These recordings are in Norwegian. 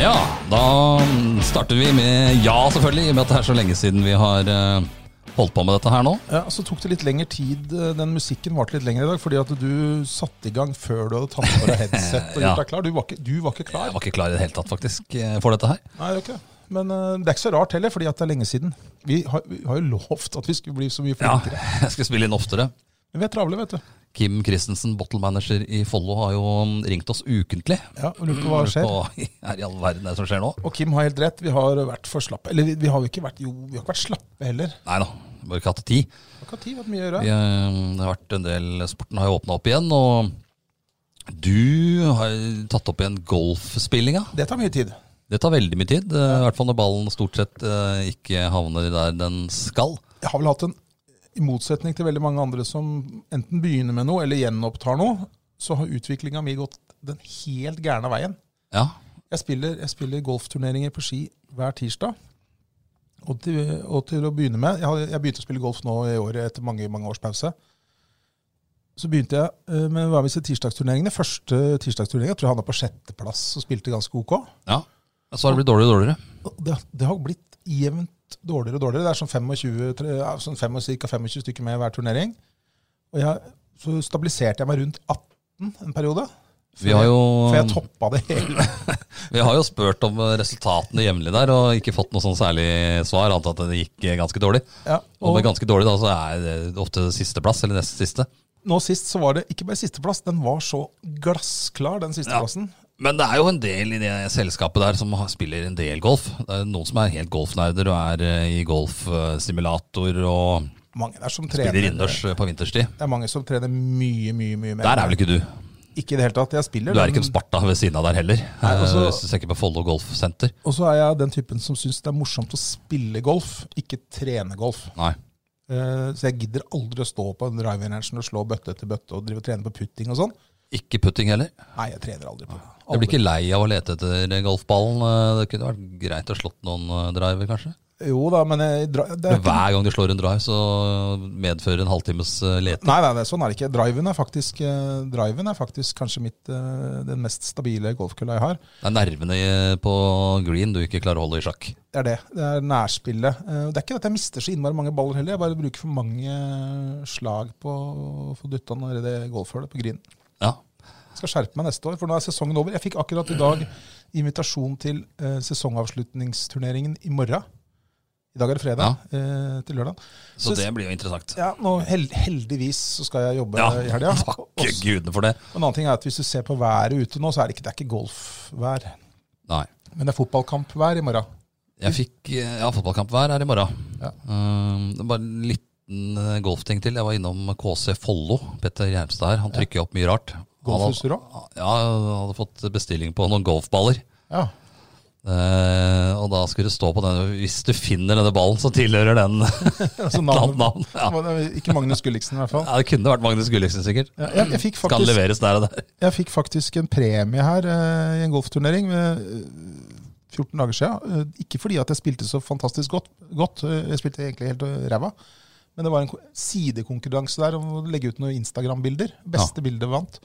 Ja, da starter vi med ja, selvfølgelig, i og med at det er så lenge siden vi har eh, holdt på med dette her nå. Ja, Så tok det litt lengre tid. eh, Den musikken varte litt lenger i dag, fordi at du satte i gang før du hadde tatt på deg headset og Ja. gjort deg klar. Du var ikke, du var ikke Jeg klar. var ikke klar i det hele tatt, faktisk, eh, for dette her. Nei, det var ikke det. Men eh, det er ikke så rart heller, fordi at det er lenge siden. Vi har, vi har jo lovt at vi skulle bli så mye Ja, flinkere. jeg skal spille inn oftere. Men vi er travle, vet du. Kim Christensen, bottle manager i Follo, har jo mm, ringt oss ukentlig. Ja, og Lurer på hva som skjer. Hva er i all verden det er som skjer nå? Og Kim har helt rett, vi har vært for slappe. Eller vi, vi har jo ikke vært, jo, vi har ikke vært slappe heller. Nei da, bare ikke hatt tid. Vi har ikke hatt tid, vært mye å gjøre. Vi, eh, det har vært en del, sporten har jo åpna opp igjen, og du har tatt opp igjen golfspillinga. Det tar mye tid. Det tar veldig mye tid, eh, i hvert fall når ballen stort sett eh, ikke havner der den skal. Jeg har vel hatt en, i motsetning til veldig mange andre som enten begynner med noe eller gjenopptar noe, så har utviklinga mi gått den helt gærne veien. Ja, Jeg spiller, jeg spiller golfturneringer på ski hver tirsdag. Og til, og til å begynne med Jeg, har- jeg begynte å spille golf nå i år etter mange mange års pause. Så begynte jeg eh, med hver av disse tirsdagsturneringene. Første tirsdagsturnering jeg tror jeg havna på sjetteplass og spilte ganske ok. ja. Så har det blitt dårligere og dårligere. Og Det, det har blitt jevnt dårligere og dårligere. Det er sånn 25, tre- ja, sånn fem og cirka 25 stykker med hver turnering. Og jeg, så stabiliserte jeg meg rundt 18 en periode. Vi har jo, For jeg toppa det hele. vi har jo spurt om eh, resultatene jevnlig der, og ikke fått noe sånn særlig svar, annet at det gikk eh, ganske dårlig. Ja, Og og med ganske dårlig da, så er det ofte sisteplass, eller nest siste. nå sist så var det ikke bare sisteplass, den var så glassklar, den sisteplassen. Men det er jo en del i det selskapet der som har- spiller en del golf. Det er noen som er helt golfnerder og er eh, i golfsimulator og Mange der som trener. spiller innendørs eh, på vinterstid. Det er mange som trener mye, mye mye mer. Der er vel ikke du? Ikke i det hele tatt. Jeg spiller. Du er ikke en men- Sparta ved siden av der heller. Nei, altså- Hvis du tenker på Follo golfsenter. Og så er jeg den typen som syns det er morsomt å spille golf, ikke trene golf. Nei. Eh, Så jeg gidder aldri å stå på driving-rangen og slå bøtte etter bøtte og drive og trene på putting og sånn. Ikke putting heller. Nei, jeg trener aldri på det. Jeg Ah, blir Aldri. ikke lei av å lete etter golfballen. Eh, Det kunne vært greit å slått noen eh, driver, kanskje. Jo da, men jeg, dra- det er Men ikke, hver gang du slår en drive, så medfører en halvtimes eh, lete. nei, nei, nei, sånn er det ikke. Driven er faktisk, eh, driven er faktisk kanskje mitt, eh, den mest stabile golfkølla jeg har. Det er nervene i- på green du ikke klarer å holde i sjakk. Det er det. Det er nærspillet. Eh, og Det er ikke at jeg mister så innmari mange baller heller, jeg bare bruker for mange slag på å få dytta ned i det golfhullet på grinen. Ja. Skal skjerpe meg neste år, for nå er sesongen over. Jeg fikk akkurat i dag invitasjon til eh, sesongavslutningsturneringen i morgen. I dag er det fredag eh, til lørdag. Så det blir jo interessant. Ja, nå hel heldigvis så skal jeg jobbe Ja, i helga. Og takke s- gudene for det. og En annen ting er at hvis du ser på været ute nå, så er det ikke, det er ikke golfvær. Nei. Men det er fotballkampvær i morgen. Jeg fikk eh, ja, fotballkamp hver her i morgen. Ja. Eh, det er bare en liten eh, golfting til. Jeg var innom KC Follo. Petter Gjermstad her. Han trykker opp mye rart. Han hadde- Golfutstyr òg? Ja, han hadde fått bestilling på noen golfballer. Ja. Eh, og da skulle det stå på den Hvis du finner denne ballen, så tilhører den et Altså, eller navnet, annet navn. Ja. Ikke Magnus Gulliksen, i hvert fall. Ja, det kunne vært Magnus Gulliksen, sikkert. Ja, jeg, jeg, fikk Skal faktisk, leveres der og der. jeg fikk faktisk en premie her eh, i en golfturnering ved, eh, 14 dager siden. Eh, ikke fordi at jeg spilte så fantastisk godt, godt. eh, jeg spilte egentlig helt eh, ræva. Men det var en ko- sidekonkurranse der om å legge ut noen Instagram-bilder. Beste bildet vant.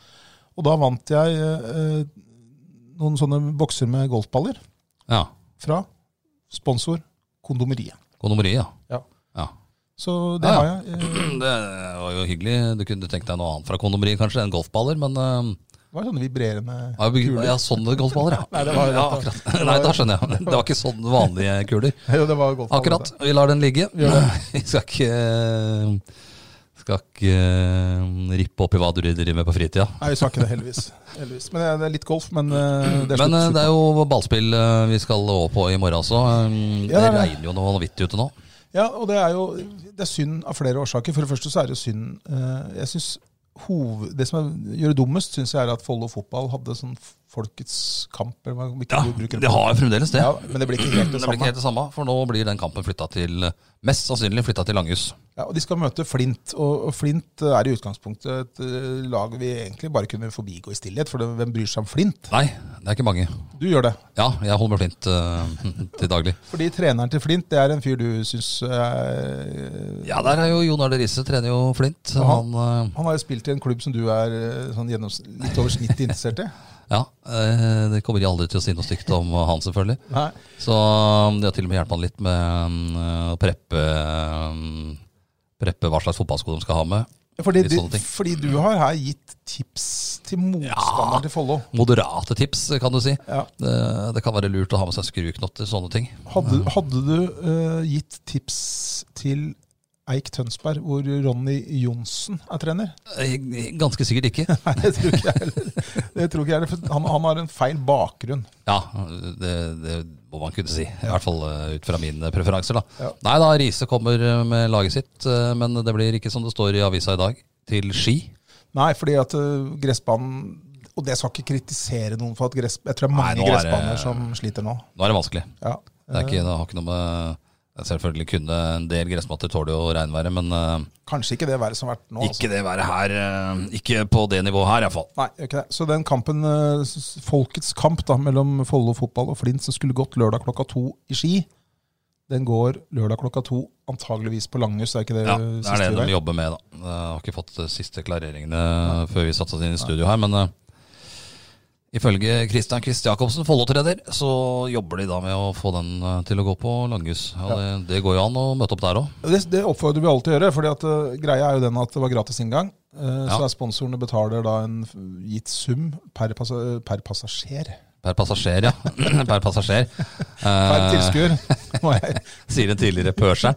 Og da vant jeg eh, eh, noen sånne bokser med golfballer Ja. fra sponsor Kondomeriet. Kondomeriet, ja. Ja. ja. Så det Ja, har ja. jeg. eh, Det var jo hyggelig. Du kunne tenkt deg noe annet fra kondomeriet, kanskje, enn golfballer. Men eh, Det var sånne vibrerende ja, bygge- ja, sånne golfballer, ja. Nei, det var- ja akkurat. Nei, da skjønner jeg. Det var ikke sånne vanlige kuler. Jo, det var golfballer. Akkurat. Vi lar den ligge. Gjør det. Vi skal ikke eh, skal ikke eh, rippe opp i hva du driver med på fritida. Nei, vi sa ikke det, heldigvis. heldigvis. Men det er- det er litt golf, men eh, det er Men eh, slutt. det er jo ballspill eh, vi skal over på i morgen også. Eh, Ja, Det det er det. regner jo noe vanvittig ute nå. Ja, og det er jo det er synd av flere årsaker. For det første så er det jo synd eh, Jeg syns hoved, det som er, gjør det dummest, syns jeg er at Follo fotball hadde sånn folkets kamp. Eller hva vi ikke Ja, bruker det har fremdeles det. ja, Men det blir ikke helt Men det blir det samme. ikke helt det samme, for nå blir den kampen flytta til Mest sannsynlig flytta til Langhus. Ja, og De skal møte Flint, og og Flint er i utgangspunktet et eh, lag vi egentlig bare kunne forbigå i stillhet. For det, hvem bryr seg om Flint? Nei, det er ikke mange. Du gjør det. Ja, jeg holder med Flint eh, til daglig. Fordi treneren til Flint det er en fyr du syns eh, Ja, der er jo Jon Arne Riise, trener jo Flint. Han, eh, Han har jo spilt i en klubb som du er eh, sånn gjennoms, litt over snittet interessert i. ja, eh, det kommer de aldri til å si noe stygt om han, selvfølgelig. Nei. Så eh, de har til og med hjulpet han litt med eh, å preppe, eh, preppe hva slags fotballsko de skal ha med. Fordi, Litt du, sånne ting. fordi du har her gitt tips til motstanderen til Follo. Moderate tips, kan du si. Ja. Det, det kan være lurt å ha med seg skruknotter, sånne ting. Hadde, hadde du eh, gitt tips til Eik Tønsberg, hvor Ronny Johnsen er trener? Eh, Ganske sikkert ikke. Nei, det tror ikke jeg heller. Det tror ikke jeg heller, for han, han har en feil bakgrunn. Ja, det, det må man kunne si. I hvert fall eh, ut fra mine preferanser, da. Ja. Nei da, Riise kommer eh, med laget sitt, eh, men det blir ikke som det står i avisa i dag, til Ski. Nei, fordi at eh, gressbanen Og det skal ikke kritisere noen for at gress, Jeg tror det er Nei, mange nå er det- gressbaner som sliter nå. Nå er det vanskelig. Ja. Det, er ikke, det har ikke noe med Selvfølgelig kunne en del gressmatter tåler jo regnværet, men eh, Kanskje ikke det været som har vært nå. ikke det været her. eh, Ikke på det nivået her, iallfall. Nei, gjør ikke det. Så den kampen, eh, s- folkets kamp da, mellom Follo fotball og Flint, som skulle gått lørdag klokka to i Ski, den går lørdag klokka to antageligvis på Langhus. Er ikke det Ja, eh, det er siste det vi de vet? jobber med, da. Eh, Jeg har ikke fått de siste klareringene før vi satte oss inn i studio her, men eh, ifølge Christian Kvist Jacobsen, Follo-trener, så jobber de da med å få den eh, til å gå på Langhus. Og det, det går jo an å møte opp der òg. Det, det oppfordrer vi alle til å gjøre, fordi at eh, greia er jo den at det var gratis inngang. eh, Så Ja. er sponsorene betaler da en f- gitt sum per, passa, per passasjer. Per passasjer, ja. per passasjer. Per Eh, tilskuer. Må jeg sier den tidligere pørseren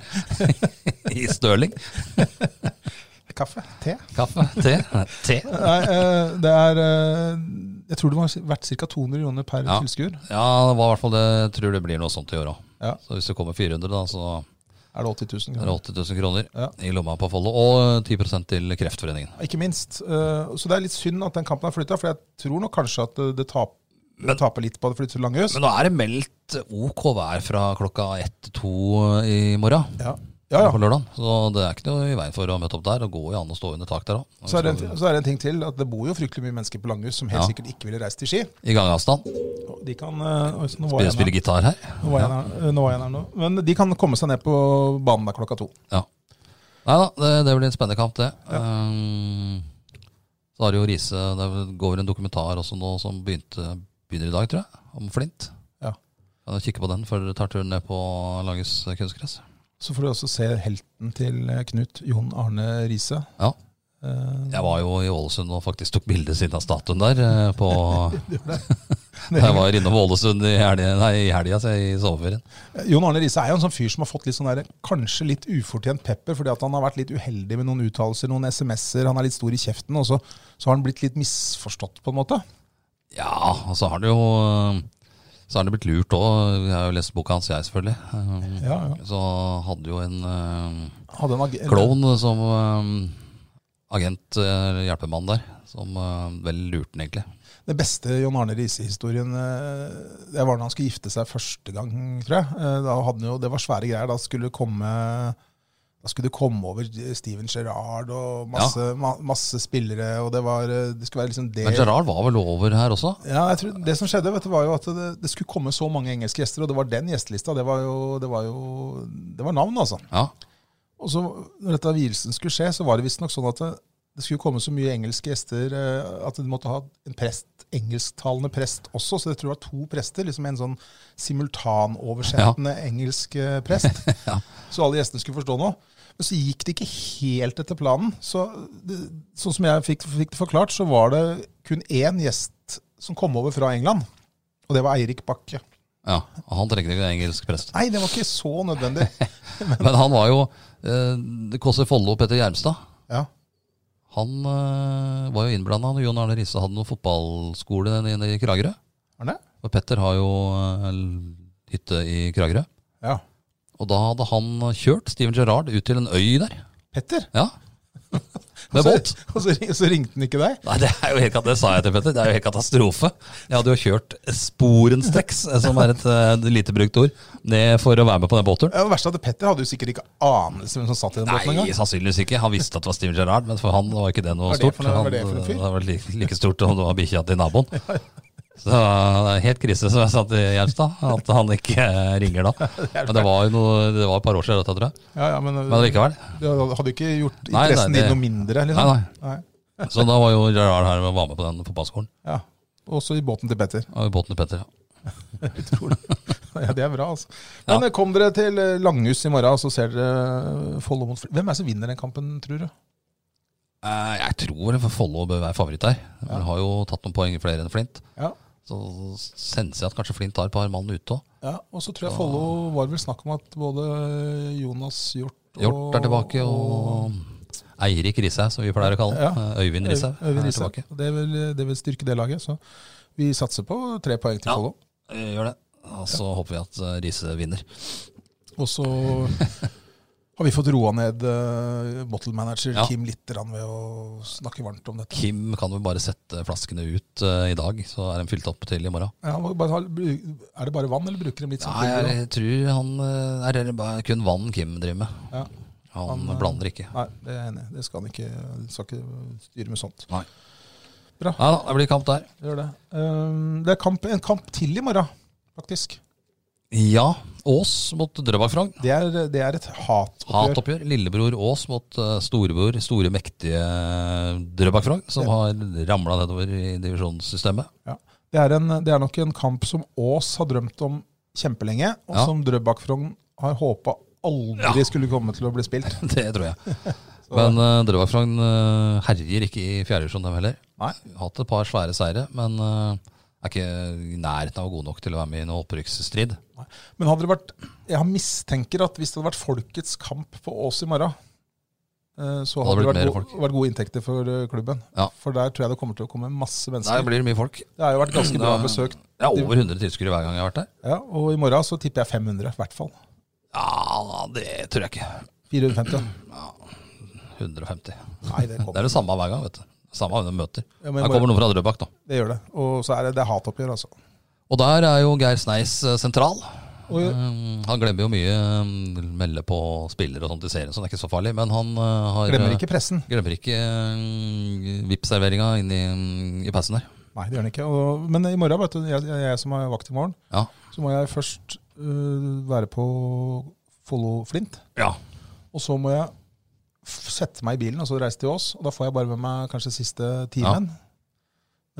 i Stirling. Kaffe? Te? Kaffe, te, te. Nei, eh, det er eh, Jeg tror det var verdt ca. 200 kroner per Ja. tilskuer. Ja, det var i hvert fall det. Jeg tror det blir noe sånt i år òg. Ja. Så hvis det kommer 400, da, så Er det 80 000 er det kroner? 80 000 kroner Ja. i lomma på Follo. Og 10 til Kreftforeningen. Ikke minst. Eh, Så det er litt synd at den kampen er flytta, for jeg tror nok kanskje at det, det taper. Men- taper litt på det flytter til Langhus. Men nå er det meldt OK vær fra klokka ett til to i morgen. Ja. Ja, På ja. lørdag. Så det er ikke noe i veien for å møte opp der. Det går jo an å stå under tak der òg. Så er, det en, så er det en ting til, at det bor jo fryktelig mye mennesker på Langhus som helt Ja. sikkert ikke ville reist til Ski. I gangavstand. Og De kan, eh, oi, så nå var Spille, jeg spille her. gitar her. Nå var jeg her, eh, nå var jeg her nå. Men de kan komme seg ned på banen der klokka to. Ja. Nei da, det, det blir en spennende kamp, det. Ehm, så har det jo Riise Det går vel en dokumentar også nå som begynte, begynner i dag, tror jeg. Om Flint. Ja. Kan du kikke på den før dere tar turen ned på Langes kunstgress? Så får du også se helten til eh, Knut, Jon Arne Riise. Ja. Eh, Jeg var jo i Ålesund og faktisk tok bilde siden av statuen der. eh, På, det- jeg var innom Ålesund i helga, nei, i, helga, så jeg- i sommerferien. Jon Arne Riise er jo en sånn fyr som har fått litt sånn der, kanskje litt ufortjent pepper, fordi at han har vært litt uheldig med noen uttalelser, noen SMS-er, han er litt stor i kjeften, og så, så har han blitt litt misforstått, på en måte. Ja, og så har det jo eh, Så har det blitt lurt òg. Jeg har jo lest boka hans, jeg, selvfølgelig. Ehm, Ja, ja. Så hadde jo en eh, Hadde en ag- klovn som eh, agent, eh, hjelpemann der, som eh, vel lurte den egentlig. Det beste Jon Arne Riise-historien eh, det var da han skulle gifte seg første gang, tror jeg. Eh, Da hadde han jo, Det var svære greier. Da skulle det komme da skulle det komme over Steven Gerrard og masse, ma, masse spillere. og Det var, eh, det skulle være liksom det Men Gerard var vel over her også? ja, jeg tror, Det som skjedde, vet du, var jo at det, det skulle komme så mange engelske gjester, og det var den gjestelista. Det var jo, det var jo det var navn, altså. Ja. Og så, når dette vielsen skulle skje, så var det visstnok sånn at det, det skulle komme så mye engelske gjester eh, at de måtte ha en prest, engelsktalende prest også. Så jeg tror det var to prester. liksom En sånn simultanoversettende engelsk eh, prest. Så alle gjestene skulle forstå noe. Men så gikk det ikke helt etter planen. Så det, sånn som jeg fikk, fikk det forklart, så var det kun én gjest som kom over fra England. Og det var Eirik Bakke. ja. Han trengte ikke en engelsk prest. Nei, det var ikke så nødvendig. Men han var jo eh, Det koster Follo og Petter Gjermstad. Ja. Han eh, var jo innblanda når Jon Arne Riise hadde noen fotballskole nede i Kragerø. Er det? Og Petter har jo eh, l- hytte i Kragerø. Ja. Og da hadde han kjørt Steven Gerrard ut til en øy der. Petter? Ja. Med båt. Og så, ring- så ringte han ikke deg. Nei, det er jo helt, kat- det sa jeg til Petter. Det er jo helt katastrofe. Jeg hadde jo kjørt sporenstreks, som er et eh, lite brukt ord, ned for å være med på den båtturen. Ja, det verste er at Petter hadde jo sikkert ikke anelse hvem som satt i den båten Nei, engang. sannsynligvis ikke. Han visste at det var Steve Gerrard, men for han var ikke det noe Hva er det stort. for noe- hva er Han- det for en fyr? det var like, like stort som det var bikkja til naboen. Så det er helt krise, som jeg sa til Gjerstad, at han ikke eh, ringer da. Men det var jo noe, det var et par år siden, dette, tror jeg. Ja, ja, men, Men likevel. Du hadde jo ikke gjort Nei, nei, interessen det- din noe mindre. Liksom. Nei, nei. Så da var jo Gerrard her og var med på den fotballskolen. Ja. Også i båten til Petter. Og båten til Petter, ja. Ja, Det er bra, altså. Men eh, kom dere til eh, Langhus i morgen, og så ser dere eh, Follo mot Fl- Hvem er det som vinner den kampen, tror du? Eh, Jeg tror Follo bør være favoritt her. De har jo tatt noen poeng flere enn Flint. Ja. Så senser jeg at kanskje Flint har et par mann ute òg. Ja, og så tror jeg Follo var vel snakk om at både Jonas Hjort og Hjort er tilbake, og Eirik Rishaug, som vi pleier å kalle han. Eh, Øyvind Rishaug Øyvind er Rishaug. tilbake. Og Det vil, det vil styrke det laget. Så vi satser på tre poeng til Ja. Follo. Eh, Gjør det. Og så håper vi at eh, Riise vinner. Og så har vi fått roa ned eh, bottle manager Ja. Kim litt grann ved å snakke varmt om dette. Kim kan vel bare sette flaskene ut eh, i dag, så er de fylt opp til i morgen. Ja, han må bare ha- bru- er det bare vann, eller bruker de litt som Nei, pulver også? jeg tror han eh, er det bare kun vann Kim driver med. Ja. Han, Han, eh, blander ikke. Nei, det er jeg enig i. Det skal han ikke, skal ikke styre med sånt. Nei. Bra. Ja da, det blir kamp der. Gjør det. Um, det er kamp, en kamp til i morgen, faktisk. Ja, Ås mot Drøbak Frogn. Det er, det er et hatoppgjør. Hatoppgjør. Lillebror Aas mot eh, storebror, store, mektige Drøbak Frogn, som har ramla nedover i divisjonssystemet. Ja. Det, er en, det er nok en kamp som Aas har drømt om kjempelenge, og Ja. som Drøbak Frogn har håpa aldri Ja. skulle komme til å bli spilt. Det tror jeg. Men uh, Drøbak Frogn eh, herjer ikke i fjerde divisjon, dem heller. Nei. Hatt et par svære seire, men eh, er ikke i nærheten av god nok til å være med i noen opprykksstrid. Nei. Men hadde det vært Jeg mistenker at hvis det hadde vært folkets kamp på Ås i morgen, eh, så hadde det blitt vært, mer go vært gode inntekter for eh, klubben. Ja. For der tror jeg det kommer til å komme masse Der mennesker. blir det mye folk. Det har jo vært ganske bra Ja. besøkt. Det er over 100 tilskuere hver gang jeg har vært der. Ja, og i morgen så tipper jeg 500, i hvert fall. Ja, det tror jeg ikke. 450. 150. Nei, det Det kommer. er det samme hver gang, vet du. Samme hvem de møter. Ja, men i Her kommer morgen- noen fra Drøbak, da. Det gjør det. Og så er det, det er hatoppgjør, altså. Og der er jo Geir Sneis eh, sentral. Og, Um, Han glemmer jo mye um, melde på spillere og sånt i serien, så det er ikke så farlig. Men han uh, har Glemmer ikke pressen. Glemmer ikke um, VIP-serveringa inn i, um, i pausen der. Nei, det gjør den ikke. Og, men i morgen, vet du, jeg, jeg, jeg som har vakt i morgen, Ja. så må jeg først øh, være på Follo Flint. ja. Og så må jeg f- sette meg i bilen og så reise til Ås. Og da får jeg bare med meg kanskje siste Ja. timen.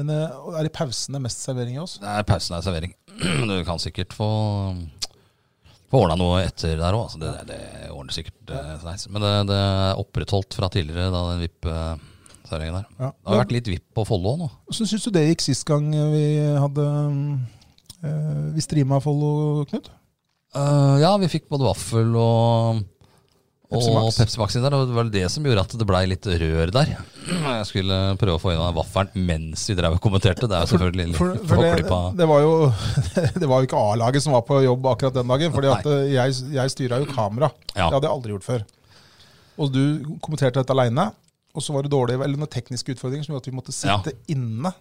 Men øh, og er i pausene mest servering i Ås? Det er pausen er servering. Du kan sikkert få um, få ordna noe etter der òg. Altså. Det, det, det ordner sikkert eh, Sneis. Men det, det er opprettholdt fra tidligere, da, den VIP-serveringen der. Ja. Det har vært litt VIP på Follo nå. Hvordan syns du det gikk sist gang eh, vi hadde øh, Vi streama Follo, Knut? Eh, ja, vi fikk både vaffel og Pepsi og Max. Pepsi Max inn der, og det var det som gjorde at det blei litt rør der. Jeg skulle prøve å få inn den vaffelen mens vi drev og kommenterte. Det er jo selvfølgelig litt For, for det, forklippa. det var jo Det var jo ikke A-laget som var på jobb akkurat den dagen. Fordi at øh, jeg, jeg styra jo kamera. Ja. Det hadde jeg aldri gjort før. Og du kommenterte dette aleine. Og så var det dårlige, eller noen tekniske utfordringer som gjorde at vi måtte Ja. sitte inne.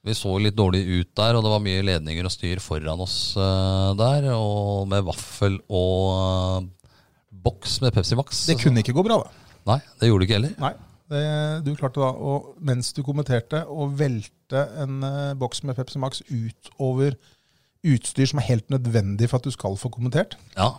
Vi så litt dårlig ut der, og det var mye ledninger og styr foran oss eh, der. Og med vaffel og eh, boks med Pepsi Max. Det kunne ikke gå bra, da. Nei, det gjorde det ikke heller. Nei. Det, du klarte da å, mens du kommenterte, å velte en eh, boks med Pepsi Max utover utstyr som er helt nødvendig for at du skal få kommentert. Ja.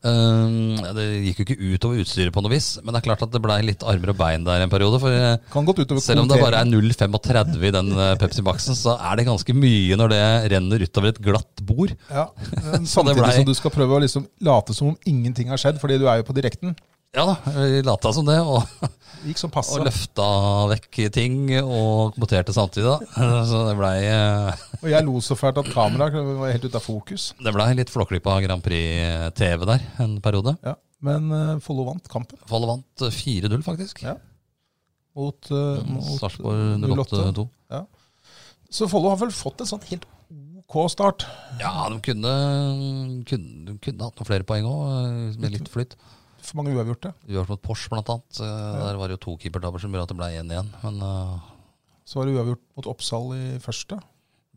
Ehm, det gikk jo ikke utover utstyret på noe vis, men det er klart at det blei litt armer og bein der en periode. For eh, Kan godt utover Selv om det bare er kommenteringen. 0,35 i den eh, Pepsi Maxen, så er det ganske mye når det renner utover et glatt bord. ja, men Så det Samtidig blei- som du skal prøve å liksom late som om ingenting har skjedd, fordi du er jo på direkten. Ja da, vi lata som det, og, Det gikk som og passe. løfta vekk ting og kommenterte samtidig. da. Så det blei eh, Og jeg lo så fælt at kameraet var helt ute av fokus. det blei litt flåklypa Grand Prix-TV der en periode. Ja, Men eh, Follo vant kampen Follo vant 4-0, faktisk. Ja. mot, eh, mot Sarpsborg 08-2. Ja. Så Follo har vel fått en sånn helt OK start. Ja, de kunne, kunne, de kunne hatt noen flere poeng òg, eh, med litt flytt. for mange uavgjorte. Uavgjort mot Porsche, blant annet. Eh, Der var det jo to keepertabber som gjorde at det ble 1-1. Men eh, Så var det uavgjort mot Oppsal i første.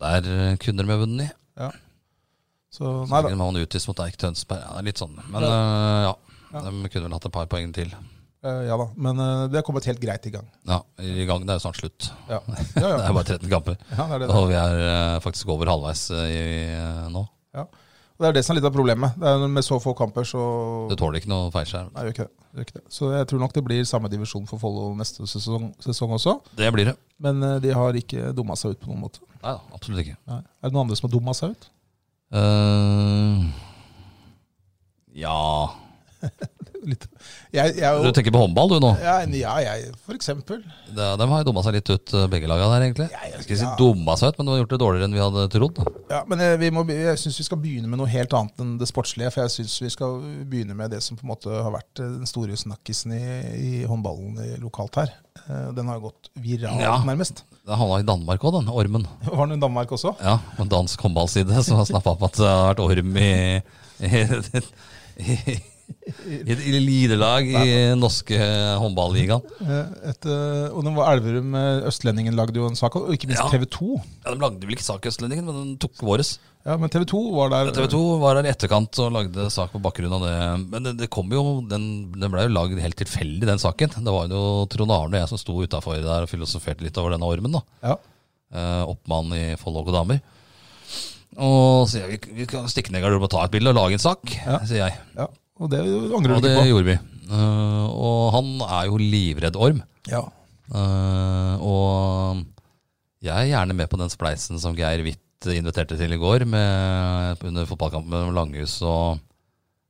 der eh, kunne de ha vunnet. Så nei Nei, da. han utvist mot Eik Tønsberg. Ja, det er litt sånn. Men eh, ja, de kunne vel hatt et par poeng til. Eh, Ja da. Men eh, det er kommet helt greit i gang. Ja, i gang. Det er jo snart slutt. Ja, ja. Det ja. er bare 13 kamper. ja det, er det, Og vi er eh, faktisk over halvveis eh, i, eh, nå. Og det er det som er litt av problemet. Det er med så få kamper, så Det tåler ikke noe feilskjerm. Nei, gjør ikke det. Gjør ikke det. Så jeg tror nok det blir samme divisjon for Follo neste sesong, sesong også. Det blir det. Men eh, de har ikke dumma seg ut på noen måte. Nei da, absolutt ikke. Nei. Er det noen andre som har dumma seg ut? Eh, ja Litt. Jeg, jeg, er Du jo- tenker på håndball, du nå? ja, ja, jeg, for eksempel. De, de har jo dumma seg litt ut, eh, begge laga der, egentlig. Ja, ja, Jeg skal ikke ja. si dumma seg ut, men de har gjort det dårligere enn vi hadde trodd. Ja, men eh, vi må, be- jeg syns vi skal begynne med noe helt annet enn det sportslige. For jeg syns vi skal begynne med det som på en måte har vært eh, den store snakkisen i, i håndballen i- lokalt her. Eh, Den har jo gått viralt, Ja. nærmest. Det havna i Danmark òg, den ormen. Var den i Danmark også? Ja, på dansk håndballside som har snappa opp at det har vært orm i i, i, i, i lidelag i norske håndballigaen. Eh, Et, eh, og den var Elverum eh, Østlendingen lagde jo en sak, og ikke minst Ja. TV 2. Ja, De lagde vel ikke sak i Østlendingen, men den tok våres. Ja, men TV 2 var der. TV 2 var her i etterkant og lagde sak på bakgrunn av det. Men det, det kom jo, den, den ble jo lagd helt tilfeldig, den saken. Det var jo Trond Arne og jeg som sto utafor der og filosoferte litt over denne ormen. da. Ja. eh, oppmann i Follo og damer. Og sier jeg, vi, vi kan stikke ned i garderoben og ta et bilde og lage en sak, Ja. sier jeg. ja. Og det angrer Og du det ikke på. gjorde vi. Eh, og han er jo livredd orm. Ja. Eh, og jeg er gjerne med på den spleisen som Geir Hvitt inviterte til i går med, under fotballkampen mellom Langhus og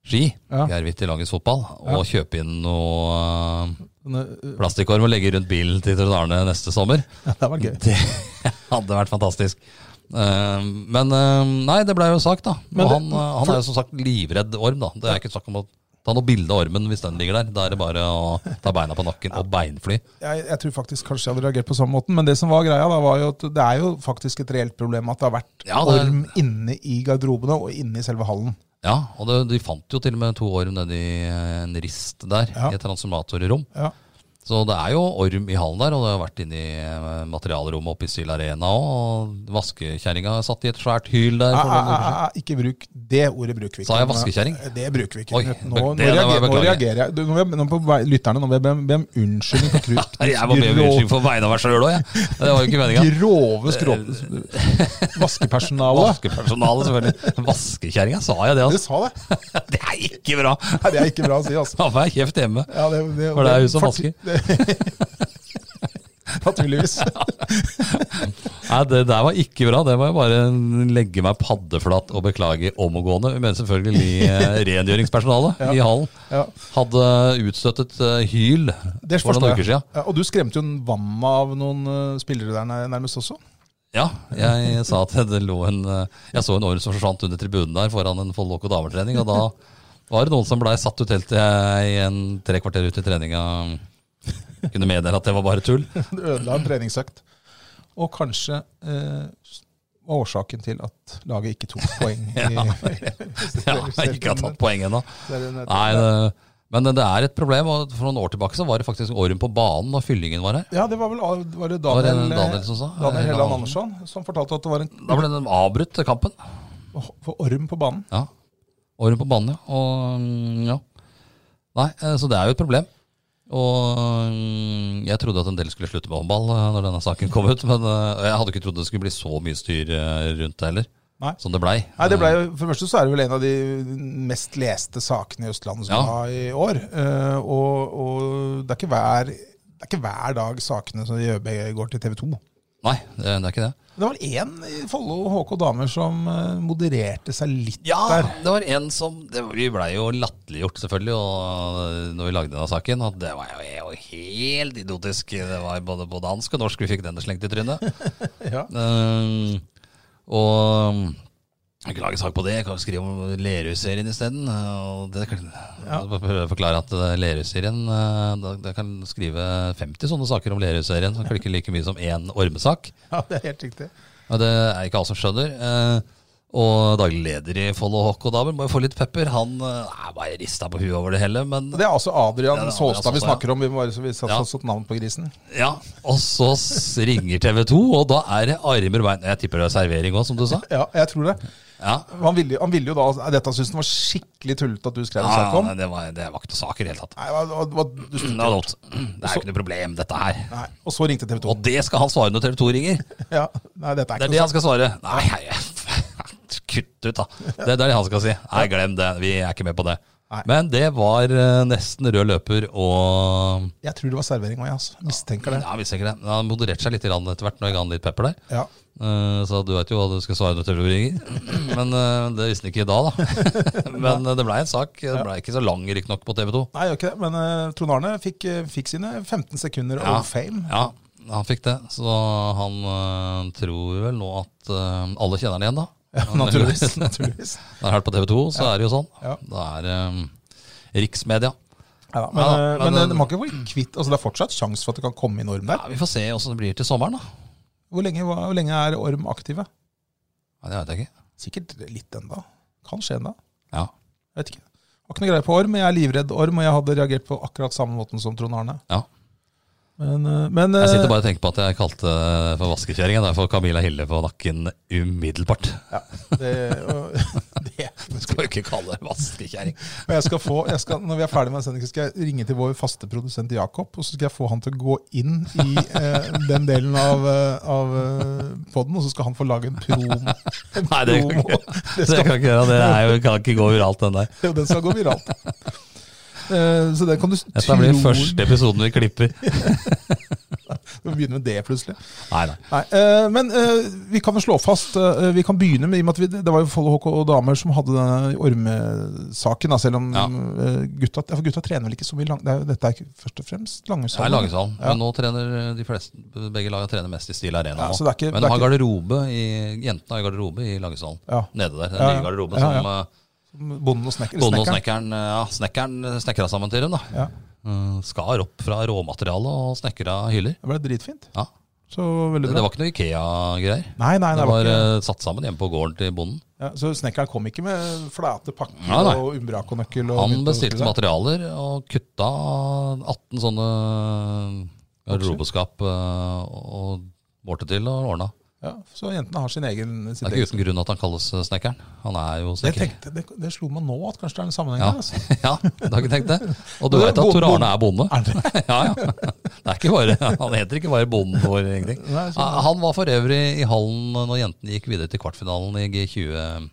Ski. Ja. Geir Hvitt i Langhus fotball. Og kjøpe inn noe eh, Men, eh, plastikkorm og legge rundt bilen til Trond Arne neste sommer. ja, det var gøy. Det hadde vært fantastisk. Eh, Men eh, nei, det blei jo sak, da. Men Og det- han, eh, han er jo som sagt livredd orm, da. Det er ikke snakk om å ta noe bilde av ormen hvis den ligger der. Da er det bare å ta beina på nakken og beinfly. jeg, jeg tror faktisk kanskje jeg hadde reagert på samme måten, men det som var greia da, var jo at det er jo faktisk et reelt problem at det har vært Ja, det er- orm inne i garderobene og inne i selve hallen. Ja, og det, de fant jo til og med to orm nedi eh, en rist der, Ja. i et transformatorrom. Ja, Så det er jo orm i hallen der, og det har vært inne i eh, materialrommet oppe i Syl Arena òg. Og vaskekjerringa satt i et svært hyl der. Æ, for noen æ, æ, uker siden. æ, ikke bruk det ordet bruker vi ikke. Sa jeg vaskekjerring? Det bruker vi ikke. Oi, nå, bek- nå, det- det var- reagerer, nå beklager. reagerer jeg. Du, nå, vil jeg- nå på vei- lytterne, nå vil jeg be om- be om unnskyldning for krut. Jeg var med grov- unnskyld på vegne av meg sjøl òg, jeg. Det var jo ikke meninga. Grove skråp... Vaskepersonalet. Vaskepersonalet, selvfølgelig. Vaskekjerringa, sa jeg det? Du Altså. sa det. Det er ikke bra! Nei, det er ikke bra å si, altså. Da får jeg kjeft hjemme. Ja, det, For det er jo som vasker. Naturligvis. Nei, det der var ikke bra. Det må jeg bare legge meg paddeflat og beklage omgående. Men selvfølgelig eh, rengjøringspersonalet i hallen Ja. hadde utstøttet eh, hyl Det for forstår noen jeg. uker siden. Ja, og du skremte jo vannet av noen eh, spillere der nær- nærmest også. Ja, jeg sa at det lå en eh, Jeg så en orm som forsvant under tribunen der foran en Follo og damertrening, og da var det noen som blei satt ut helt til jeg en tre kvarter ut i treninga kunne meddele at det var bare tull. Du ødela en treningsøkt. Og kanskje eh, var årsaken til at laget ikke tok poeng. I, Ja, jeg ikke har tatt poeng ennå. Det er en- Nei, det- Men det er et problem. og For noen år tilbake så var det faktisk orm på banen da fyllingen var her. Ja, det var vel A- var det var det Daniel, Daniel som sa? Daniel Helland Helland Andersson som fortalte at det var en Da ble den avbrutt, kampen. for orm på banen. Ja. Orm på banen, ja. Og, mm, ja. Nei, eh, så det er jo et problem. Og mm, jeg trodde at en del skulle slutte med håndball eh, når denne saken kom ut. Men eh, jeg hadde ikke trodd det skulle bli så mye styr eh, rundt det heller. Nei. Som det blei. Nei, det ble, jo- For det første så er det vel en av de mest leste sakene i Østlandet som Ja. var i år. Eh, og og det, er ikke hver, det er ikke hver dag sakene som i ØB går til TV 2. Nei, det, det er ikke det. Det var én i Follo HK Damer som eh, modererte seg litt Ja, der. det var en som det, Vi blei jo latterliggjort, selvfølgelig, og, når vi lagde denne saken. At det var jo- er jo helt idiotisk. Det var både på dansk og norsk vi fikk denne slengt i trynet. Ja. Eh, og mm, jeg kan ikke lage sak på det. Jeg kan skrive om Lerøy-serien isteden. og det kan- Jeg prøver å forklare at eh, Lerøy-serien eh, da- Jeg kan skrive 50 sånne saker om Lerøy-serien som klikker like mye som én ormesak. ja, det er helt riktig. Og det er ikke alle som skjønner. Eh, Og daglig leder i Follo Håkkodabel, bare få litt pepper. Han eh, er bare rista på huet over det hele, men Det er altså Adrian Det er Adrian Saastad vi Saastad, ja. snakker om. Vi må bare så vi satt Ja. satt satt navn på grisen. ja. Og så s- ringer TV 2, og da er det armer og bein. Jeg tipper det er servering òg, som du sa. Ja, jeg tror det. Ja. Han ville, han ville jo da Dette syntes han var skikkelig tullete at du skrev en Ja, sak om. nei, det, Mm, var, det var ikke noe sak i det hele tatt. Nei, hva, hva, hva, du, Det var dumt. Det er ikke noe problem, dette her. nei. Og så ringte TV 2. Og det skal han svare når TV 2 ringer. Ja, nei, dette Det er er det ikke noe han skal svare. Nei, hei, kutt ut, da. Det, det er det han skal si. Nei, glem det. Vi er ikke med på det. Nei. Men det var eh, nesten rød løper og sak. Jeg tror det var servering òg, jeg. Altså. Mistenker det. Ja, hvis ikke det. Men Han modererte seg litt grann etter hvert når jeg ga han litt pepper der. Ja. Eh, Så du veit jo hva du skal svare når TV ringer. Men eh, det visste han ikke da, da. Men eh, det blei en sak. Det blei ikke så lang riktignok på TV 2. Nei, gjør ikke det. Men eh, Trond Arne fikk, eh, fikk sine 15 sekunder Ja. of fame. Ja, han fikk det. Så han eh, tror vel nå at eh, alle kjenner han igjen, da. Ja, naturligvis. naturligvis. Når han har hørt på TV 2, så er det jo sånn. Ja. Det er eh, riksmedia. Ja, men Ja, men eh, men eh, den- de har ikke vært kvitt Altså, det er fortsatt sjanse for at det kan komme inn orm Ja, der. vi får se åssen det blir til sommeren, da. Hvor lenge, hva- hvor lenge er orm aktive? Nei, det veit jeg ikke. Sikkert litt enda. Kan skje enda. Ja. Jeg Vet ikke. Har ikke noe greie på orm. Jeg er livredd orm, og jeg hadde reagert på akkurat samme måten som Trond Arne. Ja. Men, eh, men Jeg sitter eh, bare og tenker på at jeg kalte det for vaskekjerringa. Derfor Camilla Hille på nakken umiddelbart. det, og, det, Du skal jo ikke kalle det vaskekjerring. og jeg skal få, jeg skal, når vi er ferdig med sendingen, skal jeg ringe til vår faste produsent Jakob, og så skal jeg få han til å gå inn i eh, den delen av, eh, av poden, og så skal han få lage en promo. En Nei, det kan promo. ikke, Det det skal, kan ikke gjøre. Det er jo, kan ikke gå viralt, den der. den skal gå viralt. Eh, så den kan du Dette blir tro- første episoden vi klipper. Vi begynner med det plutselig. Nei, nei. Nei, eh, men eh, vi kan vel slå fast eh, Vi kan begynne med i og med at vi, det var jo Follo HK og damer som hadde denne ormesaken. Da, selv om Ja. eh, gutta, ja, for gutta trener vel ikke så mye lang, det er, jo- Dette er ikke først og fremst Det er Langesand. Langesand. Men nå trener de fleste, begge lagene trener mest i Stil Arena. Ja, nå. så det er ikke- men det de er har garderobe i, jentene har garderobe i Langesand. Ja. Nede der. Den Ja, ja. nye garderoben Ja, ja. som eh, Bonden og snekker. Bonde og snekkeren. snekkeren eh, ja, snekkeren snekra sammen til dem. da. Ja, Eh, Skar opp fra råmaterialet og snekra hyller. det ble dritfint. Ja. Så veldig Det, bra. det var ikke noe Ikea-greier. nei, nei, Det var ikke, eh, satt sammen hjemme på gården til bonden. ja, så snekkeren kom ikke med flate pakker Nei, nei. og umbrakonøkkel? og Han mynt og bestilte sånt. materialer og kutta 18 sånne garderobeskap eh, og bårte til og ordna. Ja, så jentene har sin egen Det sitt er ikke uten grunn at han kalles eh, snekkeren. Han er jo Jeg snekker. tenkte, det, det slo meg nå at kanskje det er en sammenheng Ja. her. Altså. ja, du har ikke tenkt det? Og du Det er veit at Tor bonde- Arne er bonde? Er det? Ja, ja. Det er ikke bare, han heter ikke bare bonden vår, egentlig. Nei, sånn. Han var for øvrig i hallen når jentene gikk videre til kvartfinalen i G20.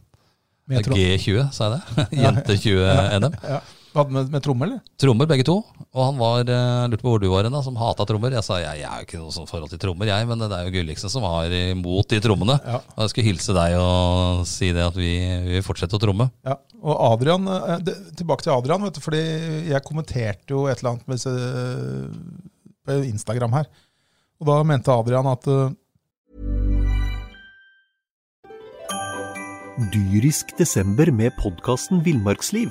Men jeg tror- G20, sa jeg det? Jente-20-NM. Ja. Hadde med, med tromme, eller? Trommer, begge to. Og han var, eh, lurte på hvor du var hen, da, som hata trommer. Jeg sa jeg, jeg er jo ikke noe sånn forhold til trommer, jeg, men det er jo Gulliksen som har imot de trommene. Ja. Og jeg skulle hilse deg og si det at vi, vi vil fortsette å tromme. Ja. Og Adrian, eh, det, tilbake til Adrian, vet du, fordi jeg kommenterte jo et eller annet med disse- på Instagram her. Og da mente Adrian at eh, Dyrisk desember med podkasten Villmarksliv.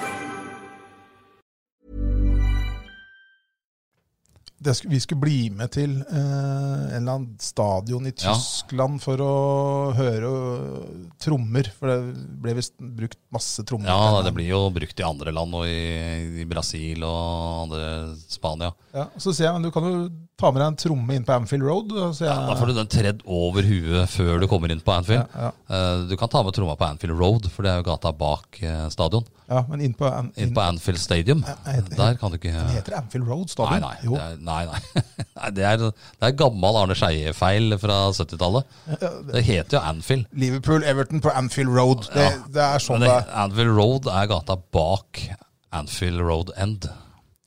det, sk- vi skulle bli med til eh, en eller annen stadion i Ja. Tyskland for å høre eh, trommer. For det ble visst brukt masse trommer. Ja, det blir jo brukt i andre land, og i, i Brasil og andre Spania. Ja, så sier jeg, men du kan jo ta med deg en tromme inn på Amfield Road. og så sier Ja, jeg- da får du den tredd over huet før du kommer inn på Anfield. Ja, ja. Eh, Du kan ta med tromma på Anfield Road, for det er jo gata bak eh, stadion. ja, men inn på, An- Inn på Anfield Stadium. nei, det- Der kan du ikke Det heter Amfield Road Nei, stadion. nei. Jo. Det er, nei, nei. nei det, er, det er gammel Arne Skeie-feil fra 70-tallet. Det heter jo Anfield. Liverpool, Everton på Anfield Road. Det, Ja. det er sånn Men det det, er. Anfield Road er gata bak Anfield Road End.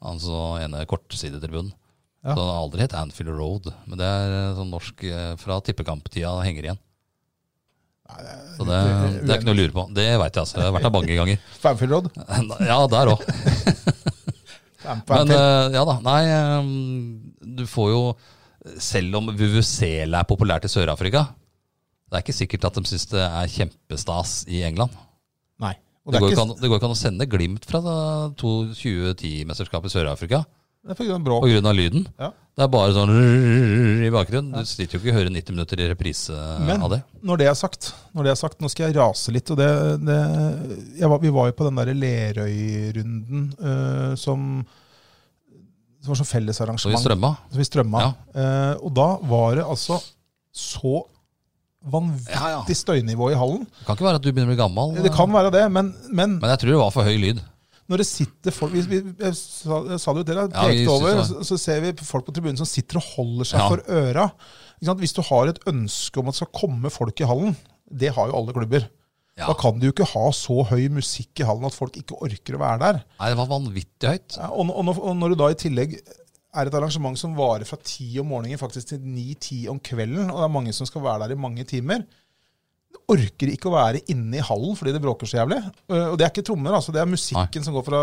Altså ene kortsidetribunen. Ja. Så det har aldri hett Anfield Road. Men det er eh, sånn norsk eh, fra tippekamptida det henger igjen. Så det, det er ikke noe å lure på. Det veit jeg, altså. Jeg har vært der mange ganger. På Anfield Road. Ja, der òg. På Anfield. Men eh, ja da, nei eh, Du får jo selv om Vuvuzela er populært i Sør-Afrika, det er ikke sikkert at de syns det er kjempestas i England. Nei. Og Det det, går, er ikke ikke, an, det går ikke an å sende Glimt fra det to- 2010-mesterskapet i Sør-Afrika det er for grunn av bråk. pga. lyden. Ja. Det er bare sånn rrrr i bakgrunnen. Du sitter jo ikke og hører 90 minutter i reprise Men av det. når det er sagt, når det er sagt, nå skal jeg rase litt. Og det, det, jeg var, vi var jo på den der Lerøy-runden eh, som, som var sånn Så vi fellesarrangement. strømma. Som vi strømma. Eh, og da var det altså så vanvittig Ja, ja. støynivå i hallen. Det kan ikke være at du begynner å bli gammel. Det kan være det, men, men Men jeg tror det var for høy lyd. når det sitter folk vi, vi, jeg, sa, jeg sa det jo til deg, Ja, vi pekte synes over, det. så, så ser vi folk på tribunen som sitter og holder seg Ja. for øra. Ikke sant? Hvis du har et ønske om at det skal komme folk i hallen, det har jo alle klubber, Ja. da kan du jo ikke ha så høy musikk i hallen at folk ikke orker å være der. Nei, det var vanvittig høyt. Ja, og, og, når- og når du da i tillegg er et arrangement som varer fra ti om morgenen faktisk til ni-ti om kvelden, og det er mange som skal være der i mange timer du Orker ikke å være inne i hallen fordi det bråker så jævlig. Eh, Og det er ikke trommer, altså. Det er musikken som går fra,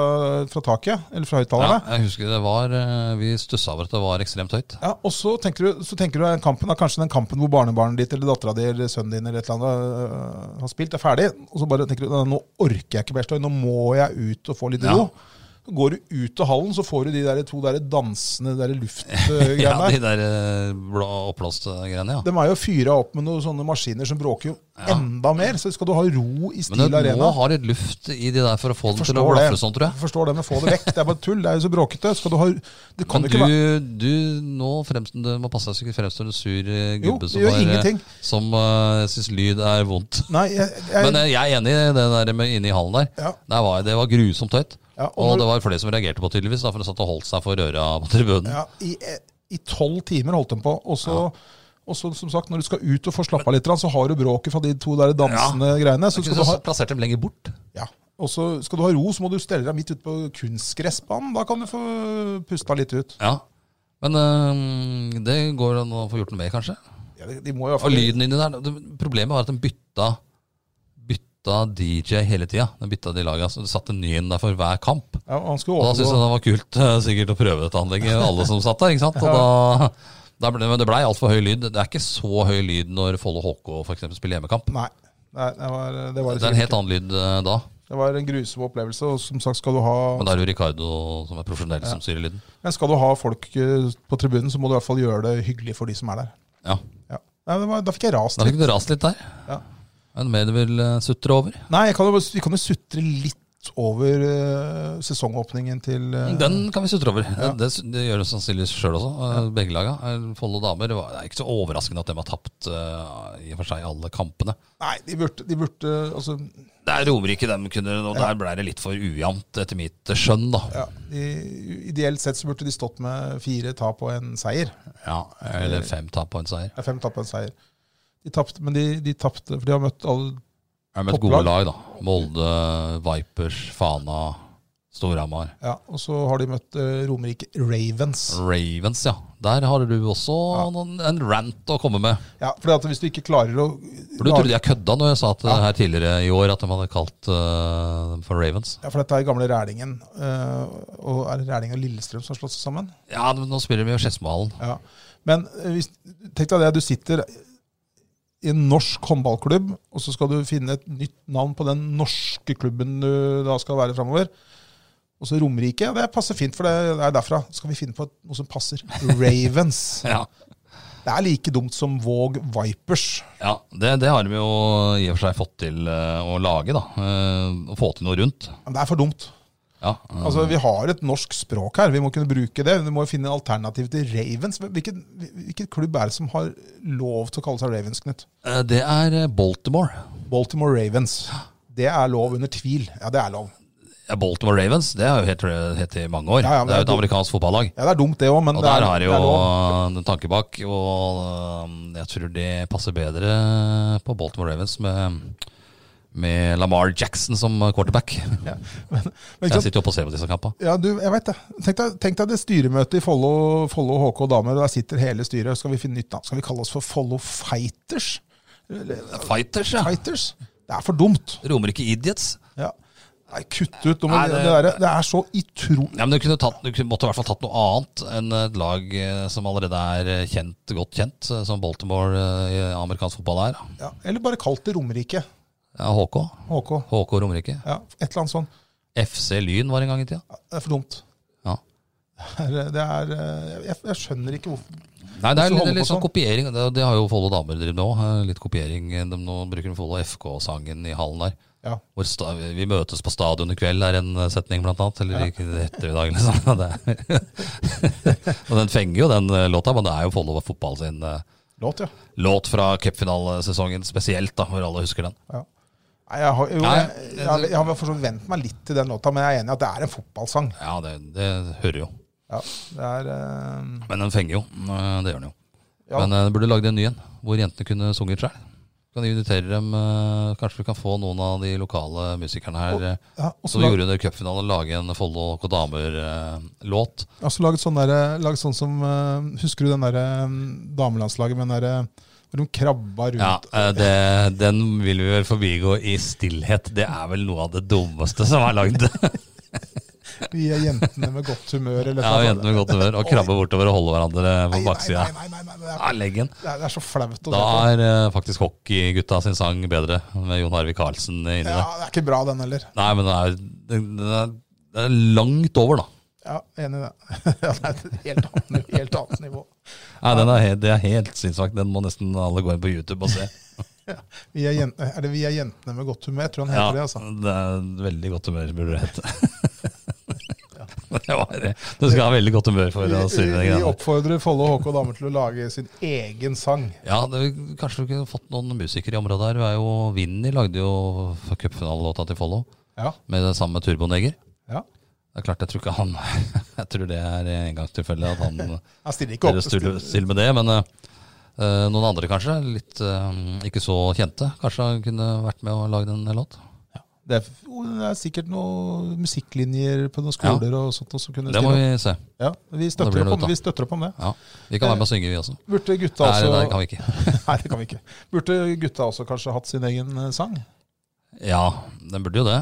fra taket, eller fra Ja, høyttalerne. jeg husker det var eh, Vi stussa over at det var ekstremt høyt. Ja, og så tenker du, så tenker du den kampen, da, kanskje den kampen hvor barnebarnet ditt eller dattera di eller sønnen din eller et eller annet øh, har spilt, er ferdig. Og så bare tenker du nå orker jeg ikke mer støy, nå må jeg ut og få litt Ja. ro. Så går du ut av hallen, så får du de der, to der dansende de der luftgreiene Ja, der. De der eh, blå oppblåste greiene, ja. De er jo fyra opp med noen sånne maskiner som bråker jo enda mer, så skal du ha ro i Stil Men du må Arena. ha litt luft i de der for å få dem til å Forstår det. blaffe sånn, tror jeg. Jeg Forstår det, men få det vekk. Det er bare tull. Det er jo så bråkete. Skal du ha Det kan Men du, jo ikke være du nå fremst, du må passe deg så ikke fremstår en sur eh, Jo, gubbe det som, gjør bare- ingenting. som eh, syns lyd er vondt. Nei, jeg, jeg, Men eh, jeg er enig i det der med inne i hallen der. Ja. Der var, det var grusomt høyt. Ja, og og når- det var flere som reagerte på det, tydeligvis, da, for de satt og holdt seg for øra på tribunen. Ja, I eh, i tolv timer holdt de på. Og så, og så som sagt, når du skal ut og få slappe av litt, så har du bråket fra de to der dansende greiene. Så Jeg skal kunne du ha, plassert dem lenger bort. ja. Og så skal du ha ro, så må du stelle deg midt ute på kunstgressbanen. Da kan du få pusta litt ut. Ja. Men øhm, det går an å få gjort noe med, kanskje? Ja, de, de må jo i hvert Og fall lyden inni der det- Problemet var at den bytta Bytta DJ hele tida. Den bytta de laga. Så det satt en ny inn der for hver kamp. ja, han skulle Og da overgå- syntes jeg det var kult eh, sikkert å prøve dette anlegget, alle som satt der. ikke sant? Og da, da ble, men det blei altfor høy lyd. Det er ikke så høy lyd når Follo HK for eksempel spiller hjemmekamp. Nei. Nei, det var, det, var Det er en helt annen lyd eh, da. det var en grusom opplevelse, og som sagt skal du ha Men det er jo Ricardo som er profesjonell som styrer lyden. Men skal du ha folk eh, på tribunen, så må du i hvert fall gjøre det hyggelig for de som er der. Ja, Ja. Nei, det var, da fikk jeg rast. Da fikk du rast litt der. Ja. Er det mer du vil eh, sutre over? Nei, jeg kan jo, vi kan jo sutre litt over eh, sesongåpningen til eh, Den kan vi sutre over. Det, det, det gjør det sannsynligvis sjøl også. eh, Begge laga. Eh, Follo damer. Det, var, det er ikke så overraskende at de har tapt eh, i og for seg alle kampene. Nei, de burde, de burde altså, Det er Romerike de kunne og Der blei det litt for ujevnt, etter mitt skjønn, da. ja, de, Ideelt sett så burde de stått med fire tap og en seier. Ja, Eller fem tap og en seier. Nei, fem tap og en seier. De tapte, men de, de tapte, for de har møtt alle Jeg har møtt gode Topplag. lag, da. Molde, Vipers, Fana, Storhamar. Ja, Og så har de møtt eh, Romerike Ravens. Ravens, ja. Der har du også noen, en rant å komme med. Ja, fordi at Hvis du ikke klarer å For Du trodde jeg kødda når jeg sa at, eh, her tidligere i år at de hadde kalt eh, dem for Ravens. Ja, For dette er gamle Rælingen. eh, og er det Rælingen og Lillestrøm som har slått seg sammen? Ja, men nå spiller de jo Skedsmohallen. Ja. Men eh, hvis, tenk deg det, du sitter i en norsk håndballklubb, og så skal du finne et nytt navn på den norske klubben du da skal være framover. Og så Romerike. ja, Det passer fint, for det er derfra. Så skal vi finne på et- noe som passer. Ravens. Ja. Det er like dumt som Våg Vipers. Ja, det, det har de jo i og for seg fått til eh, å lage, da. Eh, Å få til noe rundt. Men det er for dumt. Ja, eh, Altså, Vi har et norsk språk her. Vi må kunne bruke det. Vi må finne en alternativ til Ravens. Hvilken, hvilken klubb er det som har lov til å kalle seg Ravens, Knut? eh, Det er eh, Baltimore. Baltimore Ravens. Det er lov under tvil. Ja, det er lov. Ja, Baltimore Ravens det har jo hett hett i mange år. Ja, ja, men det er jo det- et amerikansk fotballag. Ja, Det er dumt, det òg, men Og det er, der har de det jo er lov. en tanke bak. Og øhm, jeg tror det passer bedre på Baltimore Ravens med, med Lamar Jackson som quarterback. Men ikke Jeg sant? sitter jo oppe og ser på disse kampene. Ja, du, jeg vet det. Tenk deg, tenk deg det styremøtet i Follo, Follo HK damer. Der sitter hele styret. Skal vi finne nytt navn? Skal vi kalle oss for Follo Fighters? Fighters, ja. Fighters? Det er for dumt. Romerike Idiots. Ja. Nei, kutt ut! nå må- Nei, det, det- der, det er så utro... Ja, men du, kunne tatt, du kunne- måtte i hvert fall tatt noe annet enn et lag eh, som allerede er eh, kjent, godt kjent, eh, som Baltimore eh, i amerikansk fotball er. da. Ja, eller bare kalt det Romerike. Ja, HK. HK. HK Romerike. Ja, et eller annet sånt. FC Lyn var en gang i tida. Ja, Det er for dumt. Ja. Det er, det er eh, jeg, jeg skjønner ikke hvorfor Nei, det er Hvis du litt, holder litt på sånn sånn. kopiering. Det, det har jo Follo damer drevet med òg. Litt kopiering. De nå bruker de Follo FK-sangen i hallen der. Ja. Hvor sta, vi møtes på stadion i kveld, er en eh, setning, blant annet. Eller ikke etter i dag, liksom. Ja, det- Og den fenger jo, den eh, låta. Men det er jo Follo fotball sin eh, Låt, ja. låt fra cupfinalesesongen spesielt, da, hvor alle husker den. Nei, jeg har, jo, Nei, jeg, det- jeg, har- jeg har for så vidt vent meg litt til den låta, men jeg er enig i at det er en fotballsang. Ja, det, det hører jo. Ja, det er eh, Men den fenger jo. Eh, Det gjør den jo. ja. Men eh, du burde lagd en ny en, hvor jentene kunne sunget sjøl. Kan vi invitere dem eh, Kanskje vi kan få noen av de lokale musikerne her. eh, ja, og som så vi lag, gjorde under cupfinalen, lage en Follo og eh, damer-låt. og så laget sånn, der, laget sånn som eh, Husker du den der eh, damelandslaget med den derre Hvor de krabba rundt Ja, eh, det, Den vil vi vel forbigå i stillhet. Det er vel noe av det dummeste som er lagd. Vi er jentene med godt humør, eller Ja, og Jentene med godt humør. Å krabbe bortover og holde hverandre på baksida Nei, nei, nei, nei, nei, det, av leggen. er, det er- det er så flaut å Da se på. er eh, faktisk hockeygutta sin sang bedre, med Jon Arvid Carlsen inni Ja, det. det er ikke bra, den heller. Nei, men det er, den er, den er langt over, da. Ja, Enig i det. Ja, det er et helt annet, helt annet nivå. Nei, den er, he- Det er helt sinnssvakt. Den må nesten alle gå inn på YouTube og se. Vi er, jentene, er det 'Vi er jentene med godt humør'? Jeg tror han Ja, heter det. altså. det er veldig godt humør, burde det hete. det var det. Du skal ha veldig godt humør for å Vi, synge den vi greia. der. oppfordrer Follo HK damer til å lage sin egen sang. Ja, det, kanskje vi kunne fått noen musikere i området her. Vi er jo, Vinni lagde jo cupfinalelåta til Follo Ja, med det samme Turboneger. ja. Det er klart, jeg tror ikke han Jeg tror det er engangstilfelle at han Han stiller ikke dere opp. stiller stiller med det. Men eh, eh, noen andre kanskje, litt eh, ikke så kjente, kanskje han kunne vært med og lagd en låt. Det er, jo, det er sikkert noen musikklinjer på noen skoler og sånt som kunne Det må stille opp. vi se. Ja, vi, Det blir noe støtter opp ut av. om, vi støtter opp om det. Ja, Vi kan være med og synge, vi også. Burde gutta Nei, også det kan vi ikke. Nei, det kan vi ikke. Burde gutta også kanskje hatt sin egen eh, sang? Ja, den burde jo det.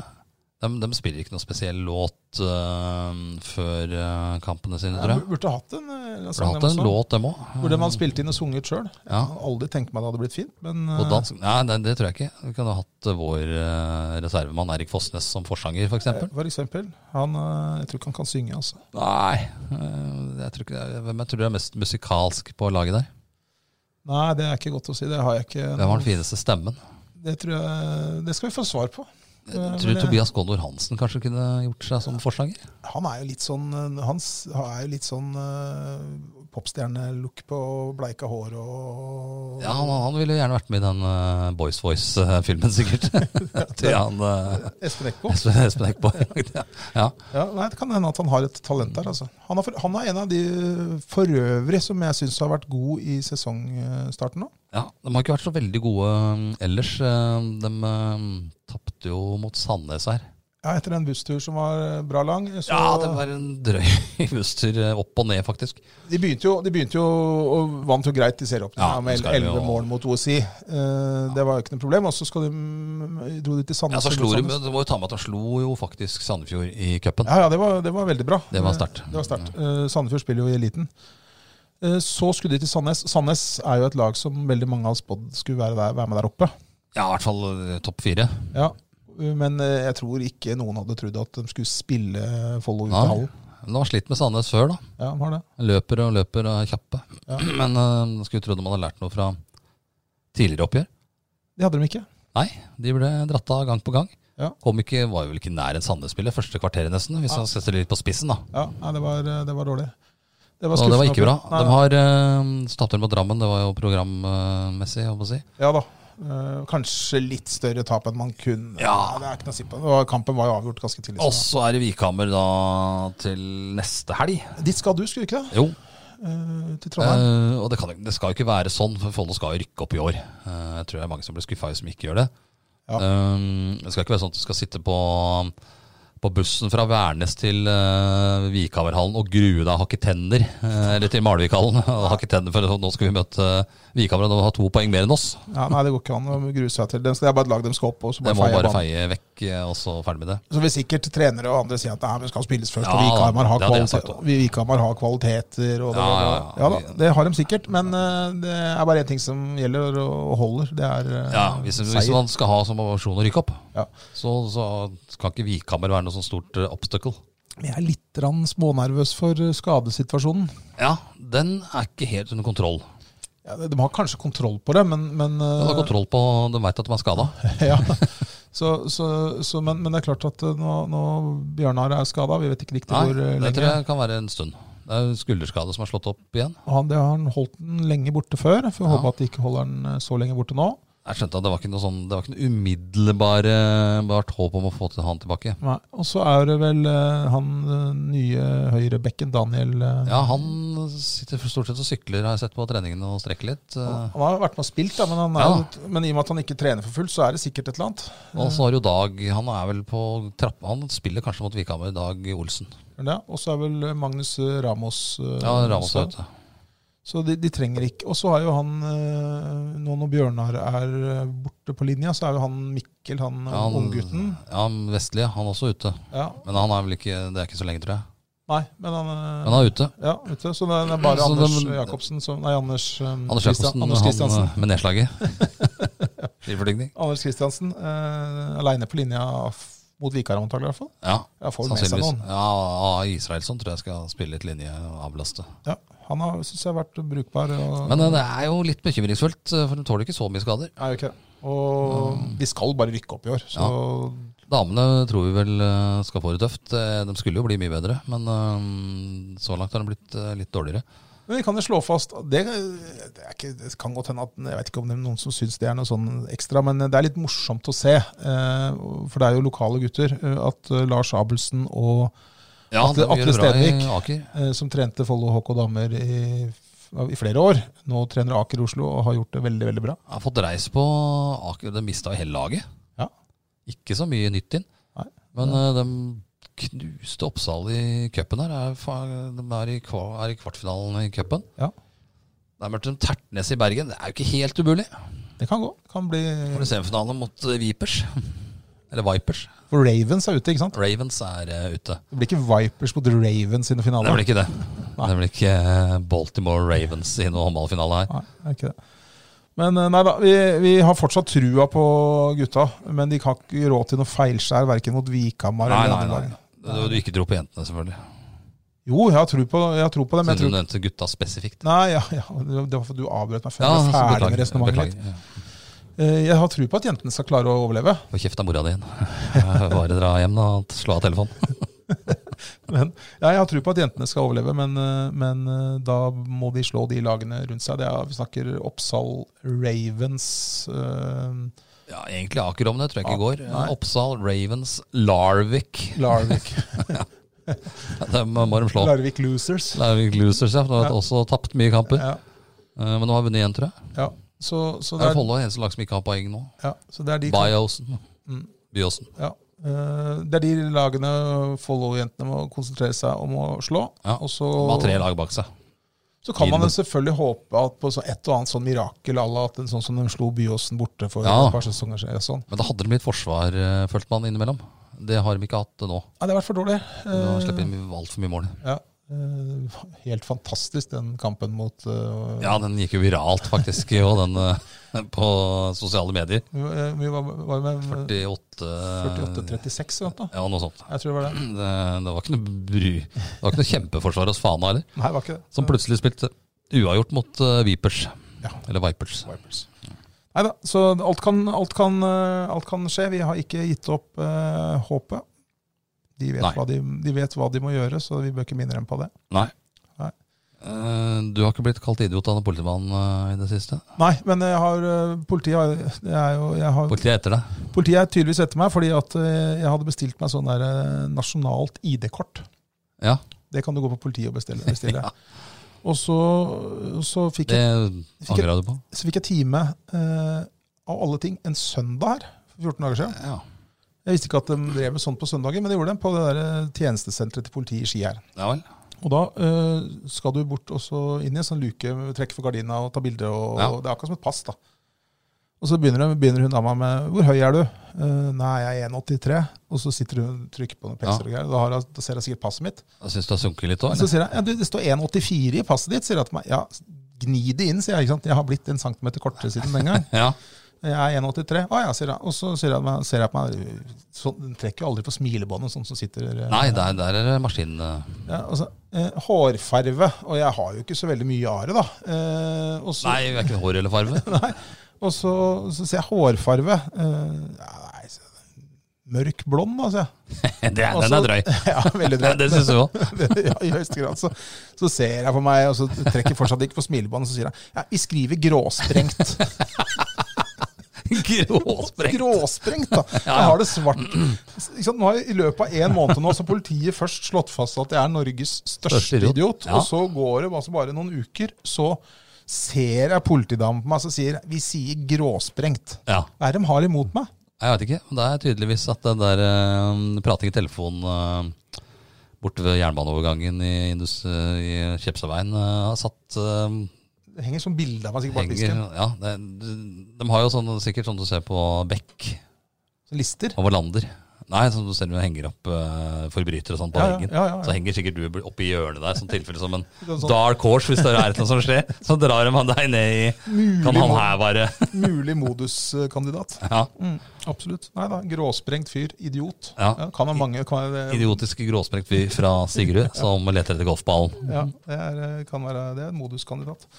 De, de spiller ikke noe spesiell låt eh, før eh, kampene sine, tror jeg. Burde hatt en eh, Har sang, hatt dem en også. låt, dem òg. Burde man spilt inn og sunget sjøl? Ja. Aldri tenkt meg det hadde blitt fint, men eh, På dansk? Nei, nei, det tror jeg ikke. Vi kunne hatt eh, vår eh, reservemann Erik Fossnes som forsanger, f.eks. eh, for eksempel. Han, eh, jeg tror ikke han kan synge, altså. Nei, eh, jeg tror ikke, det er- hvem jeg tror er mest musikalsk på laget der? Nei, det er ikke godt å si. Det har jeg ikke. Hvem har den fineste stemmen? Det tror jeg Det skal vi få svar på. Eh, Jeg men tror det- Tobias Gondor Hansen kanskje kunne gjort seg som forsanger? Han er jo litt sånn eh, Han s- er jo litt sånn eh, popstjernelook på bleika hår og Ja, han, han ville gjerne vært med i den eh, Boys Voice-filmen, sikkert. Til han eh, Espen Eckbo. Espen Espen Eckbo. Ja. Ja, nei, det kan hende at han har et talent der. Altså. Han, er for, han er en av de for øvrig som jeg syns har vært god i sesongstarten nå. Ja, de har ikke vært så veldig gode um, ellers. Eh, De eh, tapte jo mot Sandnes her. Ja, etter en busstur som var bra lang. Så Ja, det var en drøy busstur eh, opp og ned, faktisk. de, begynte jo, de begynte jo og vant jo greit i serieåpninga Ja, med det skal de 11 jo. mål mot OSI. Eh, det var jo ikke noe problem. Og så skal de, dro de til Ja, Sandnes. så slo de, Sandnes. Du må jo ta med at de slo jo faktisk Sandefjord i cupen. Ja, ja, det var, det var veldig bra. Det var sterkt. Det var sterkt. Eh, Sandefjord spiller jo i eliten. Eh, Så skulle de til Sandnes. Sandnes er jo et lag som veldig mange har spådd skulle være, der, være med der oppe. Ja, i hvert fall eh, topp fire. Ja, men eh, jeg tror ikke noen hadde trodd at de skulle spille Follo ut Ja. av hallen. Men De har slitt med Sandnes før, da. Ja, de har det. Løper og løper og er kjappe. Ja. Men eh, skulle tro de hadde lært noe fra tidligere oppgjør. Det hadde de ikke. Nei, de ble dratt av gang på gang. Ja. Kom ikke, var jo vel ikke nær en Sandnes-spiller første kvarteret, nesten. Hvis Ja. man setter det litt på spissen, da. Ja, nei, det, var, eh, det var dårlig. Det Og det var ikke bra. oppgjør. De Nei, har eh, tapte mot Drammen, det var jo programmessig, jeg holdt på å si. Ja da. Eh, kanskje litt større tap enn man kunne. Ja. Nei, Det er ikke noe å si på. Det var, kampen var jo avgjort ganske tidlig. Og så er det Vikhammer da til neste helg. Dit skal du, skulle du ikke det? Jo, Eh, til Trondheim? eh, og det, kan, det skal jo ikke være sånn, for Follo skal jo rykke opp i år. Eh, jeg tror det er mange som blir skuffa som ikke gjør det. Ja. Eh, det skal ikke være sånn at du skal sitte på på bussen fra Værnes til uh, Vikhaverhallen og grue deg og hakke tenner. eh, eller til Malvikhallen og hakke tenner, for nå skal vi møte uh, Vikhaver, og de har to poeng mer enn oss. Ja, nei, det går ikke an å grue seg til. Den skal jeg bare lage dem skal opp, og så Det bare må feie bare banen. feie vekk, eh, og så ferdig med det. Så vil sikkert trenere og andre si at nei, men det skal spilles først, Ja, og Vikhamar har, det hadde jeg sagt kvalite også. vi- Vikhamar har kvaliteter. Og det, Ja, ja, ja. ja da, det har de sikkert, men eh, det er bare én ting som gjelder og holder. Det er eh, Ja, hvis, hvis seier. man skal ha som ambisjon å rykke opp, Ja. så, så kan ikke Vikhammer være noe sånt stort eh, obstacle. Jeg er litt grann smånervøs for eh, skadesituasjonen. Ja, den er ikke helt under kontroll. Ja, de de har kanskje kontroll på det, men, men Den har eh, kontroll på, den veit at de er skada. ja. så, så, så, men, men det er klart at eh, nå, nå Bjørnar er skada, vi vet ikke riktig Nei, hvor eh, det tror lenge. jeg kan være en stund. Det er jo skulderskade som er slått opp igjen. Og Han, det har han holdt den lenge borte før, for jeg Ja. håper at de ikke holder den eh, så lenge borte nå. Jeg skjønte at det var ikke noe sånn, det var ikke noe umiddelbart håp om å få til han tilbake. Nei. Og så er det vel eh, han eh, nye høyrebekken, Daniel eh, Ja, han sitter for stort sett og sykler, har jeg sett på treningene, og strekker litt. eh. Han har vært med og spilt, da, men, han er, jo- men i og med at han ikke trener for fullt, så er det sikkert et eller annet. Og så har jo Dag, han er vel på trappa, han spiller kanskje mot Vikhammer, Dag Olsen. Er det det? Og så er vel eh, Magnus eh, Ramos eh, Ja, Ramos også. er ute. Så de, de trenger ikke. Og så er jo han, eh, nå når Bjørnar er eh, borte på linja, så er jo han Mikkel, han, Ja, han- unggutten. Ja, Vestlige, han er også ute. Ja. Men han er vel ikke, det er ikke så lenge, tror jeg. Nei, men han, eh, Men han er ute. ja, vet du, Så det er bare Så Anders de- Jacobsen som Nei, Anders, eh, Anders Christian- Jacobsen Anders Kristiansen. han, eh, med nedslaget. Livfordypning. Anders Kristiansen eh, aleine på linja f- mot Vikar, antagelig i hvert fall. Ja, Ja, får med seg sannsynligvis. noen. Ja, A- Israelsson tror jeg skal spille litt linje og avlaste. Ja, han har, syns jeg har vært brukbar. Og, Men eh, det er jo litt bekymringsfullt, eh, for de tåler ikke så mye skader. Nei, ok. og Mm. vi skal bare rykke opp i år, så Damene tror vi vel eh, skal få det tøft. Eh, De skulle jo bli mye bedre, men eh, så langt har de blitt eh, litt dårligere. Men vi kan jo slå fast det, det, er ikke, det kan godt hende at Jeg vet ikke om det er noen som syns det er noe sånn ekstra, men det er litt morsomt å se. eh, For det er jo lokale gutter. eh, At eh, Lars Abelsen og Ja, Atle- de gjør Atle det bra i Stenvik. Aker. eh, som trente Follo HK damer i, i flere år, nå trener Aker Oslo og har gjort det veldig, veldig bra. Har fått reis på Aker. De mista jo hele laget. Ja. Ikke så mye nytt inn. Nei. Men eh, de knuste Oppsal i cupen her. Er, fa- de er i, kva, er i kvartfinalen i cupen. Ja. Der møtte de Tertnes i Bergen. Det er jo ikke helt umulig. Det kan gå. Det kan bli For semifinale mot eh, Vipers. Eller Vipers. For Ravens er ute, ikke sant? Ravens er eh, ute. Det blir ikke Vipers mot Ravens sine Det finaler. blir ikke det. Det blir ikke eh, Baltimore Ravens i noen håndballfinale her. Nei, det er ikke det. Men eh, nei da, vi, vi har fortsatt trua på gutta, men de har ikke råd til noe feilskjær, verken mot Vikhamar Nei, eller nei, nei. Randaberg. Det er jo Du ikke tror på jentene, selvfølgelig. Jo, jeg har tro på, jeg har tro på dem. Jeg Siden du tror, nevnte gutta spesifikt. nei, ja, ja, det var fordi du avbrøt meg før Ja, så jeg var ferdig med beklager. resonnementet mitt. beklager. Ja. Eh, Jeg har tro på at jentene skal klare å overleve. Få kjeft av mora di igjen. Bare dra hjem da, og slå av telefonen. Men, ja, jeg har tro på at jentene skal overleve, men, eh, men eh, da må de slå de lagene rundt seg. Det er, vi snakker Oppsal Ravens eh, Ja, egentlig Aker om det, tror jeg ikke går. nei. Oppsal, Ravens, Larvik. Larvik. Dem må de slå. Larvik Losers. Larvik Losers, ja. for De har Ja. også tapt mye kamper. Ja, Eh, Men de har vunnet igjen, tror jeg. ja. Så, så, Det det er er, Follo eneste lag som ikke har poeng nå. ja, så det er de Byåsen. Mm. Byåsen. Ja. Eh, Det er de lagene Follo-jentene må konsentrere seg om å slå. Ja, Og så, De har tre lag bak seg. så kan man jo selvfølgelig håpe at på så et og annet sånn mirakel à la at en sånn som de slo Byåsen borte for Ja. et par sesonger siden. Sånn. Men da hadde de litt forsvar, eh, følte man innimellom. Det har de ikke hatt nå. Nei, det har vært for dårlig. De har Eh, sluppet inn altfor mye mål. ja. Eh, Helt fantastisk, den kampen mot eh, Ja, den gikk jo viralt, faktisk, og den eh, på sosiale medier. Vi var- vi var, var med 48 48-36, vet du. Ja, noe sånt. Jeg tror det var det. Det, det var ikke noe bry. Det var ikke noe kjempeforsvar hos Fana heller, Nei, det var ikke det. som plutselig spilte uavgjort mot eh, Vipers. Ja. Eller Vipers. Nei da, så alt kan, alt, kan, eh, alt kan skje. Vi har ikke gitt opp eh, håpet. De vet, Nei. hva de, de vet hva de må gjøre, så vi bør ikke minne dem på det. Nei. Nei. Eh, Du har ikke blitt kalt idiot av en politimann eh, i det siste? Nei, men jeg har, eh, politiet, har, det er jo, jeg har, Politiet er etter deg? politiet er tydeligvis etter meg, fordi at eh, jeg hadde bestilt meg sånn der eh, nasjonalt ID-kort. Ja. Det kan du gå på politiet og bestille. bestille. Og så, så, fikk Det jeg, ikke- angra du på? så fikk jeg time, eh, av alle ting, en søndag her for 14 dager siden. Ja. Jeg visste ikke at de drev med sånt på søndager, men det gjorde de på det der eh, tjenestesenteret til politiet i Ski her. Ja vel. Og da eh, skal du bort og så inn i en sånn luke, trekke for gardina og ta bilde. Og, Ja. og Det er akkurat som et pass. da. Og så begynner, hun- begynner hun dama med 'Hvor høy er du?' Eh, 'Nei, jeg er 1,83.' Og så sitter hun og trykker på noen pelser og greier. Da, har, hun- da ser hun sikkert passet mitt. Jeg syns det har sunket litt òg, Så eller? sier jeg ja, du, 'Det står 1,84 i passet ditt', sier hun til meg. Ja, gni det inn, sier jeg. ikke sant? Jeg har blitt en centimeter kortere siden den gang. Ja. Jeg er 1,83. Å ja, sier jeg. Og så sier jeg, meg- ser jeg på meg sånn, Den trekker jo aldri på smilebåndet, sånn som sitter eh, Nei, der, der er det maskin... eh, ja, altså, eh, Hårfarve. Og jeg har jo ikke så veldig mye are, da. Eh, og så, Nei, vi er ikke hår eller farve. og så, så sier jeg hårfarve. Eh, ja, nei, sier jeg. Mørk blond, da, sier jeg. Det er, Og den så- er drøy. Ja, veldig drøy. Det syns du òg. ja, I høyeste grad. Så, så ser jeg på meg, og så trekker jeg fortsatt ikke på smilebåndet, så sier jeg ja, vi skriver gråsprengt. Gråsprekk. Gråsprengt, da. Jeg har det svart. Ikke sant, nå har jeg, I løpet av en måned nå så har politiet først slått fast at jeg er Norges Største største idiot. idiot. Ja. Og så går det altså bare noen uker, så ser jeg politidamen på meg som sier vi sier gråsprengt. Ja. Hva er det de har imot meg? Jeg vet ikke. men Det er tydeligvis at den der eh, prating i telefonen eh, borte ved jernbaneovergangen i, Indus, eh, i Kjepsaveien eh, har satt eh, Det henger sånn bilde av meg sikkert bak henger, disken. ja, det, De har jo sånn, sikkert sånn du ser på Beck Så Lister. og Wallander. Nei, sånn du ser når du henger opp eh, forbrytere og sånn på Ja, ja, veggen. ja, ja, ja. Så henger sikkert du oppi hjørnet der, som tilfelle som en Sånn- sånn- dark horse hvis det er noe som skjer. Så drar de han deg ned i Kan han Mulig, her være mulig moduskandidat. ja, Mm, absolutt. Nei da. Gråsprengt fyr. Idiot. Ja. Ja, kan ha mange kan, være- idiotisk gråsprekt fyr fra Sigrud som leter etter golfballen. ja, det er, eh, kan være det er en moduskandidat.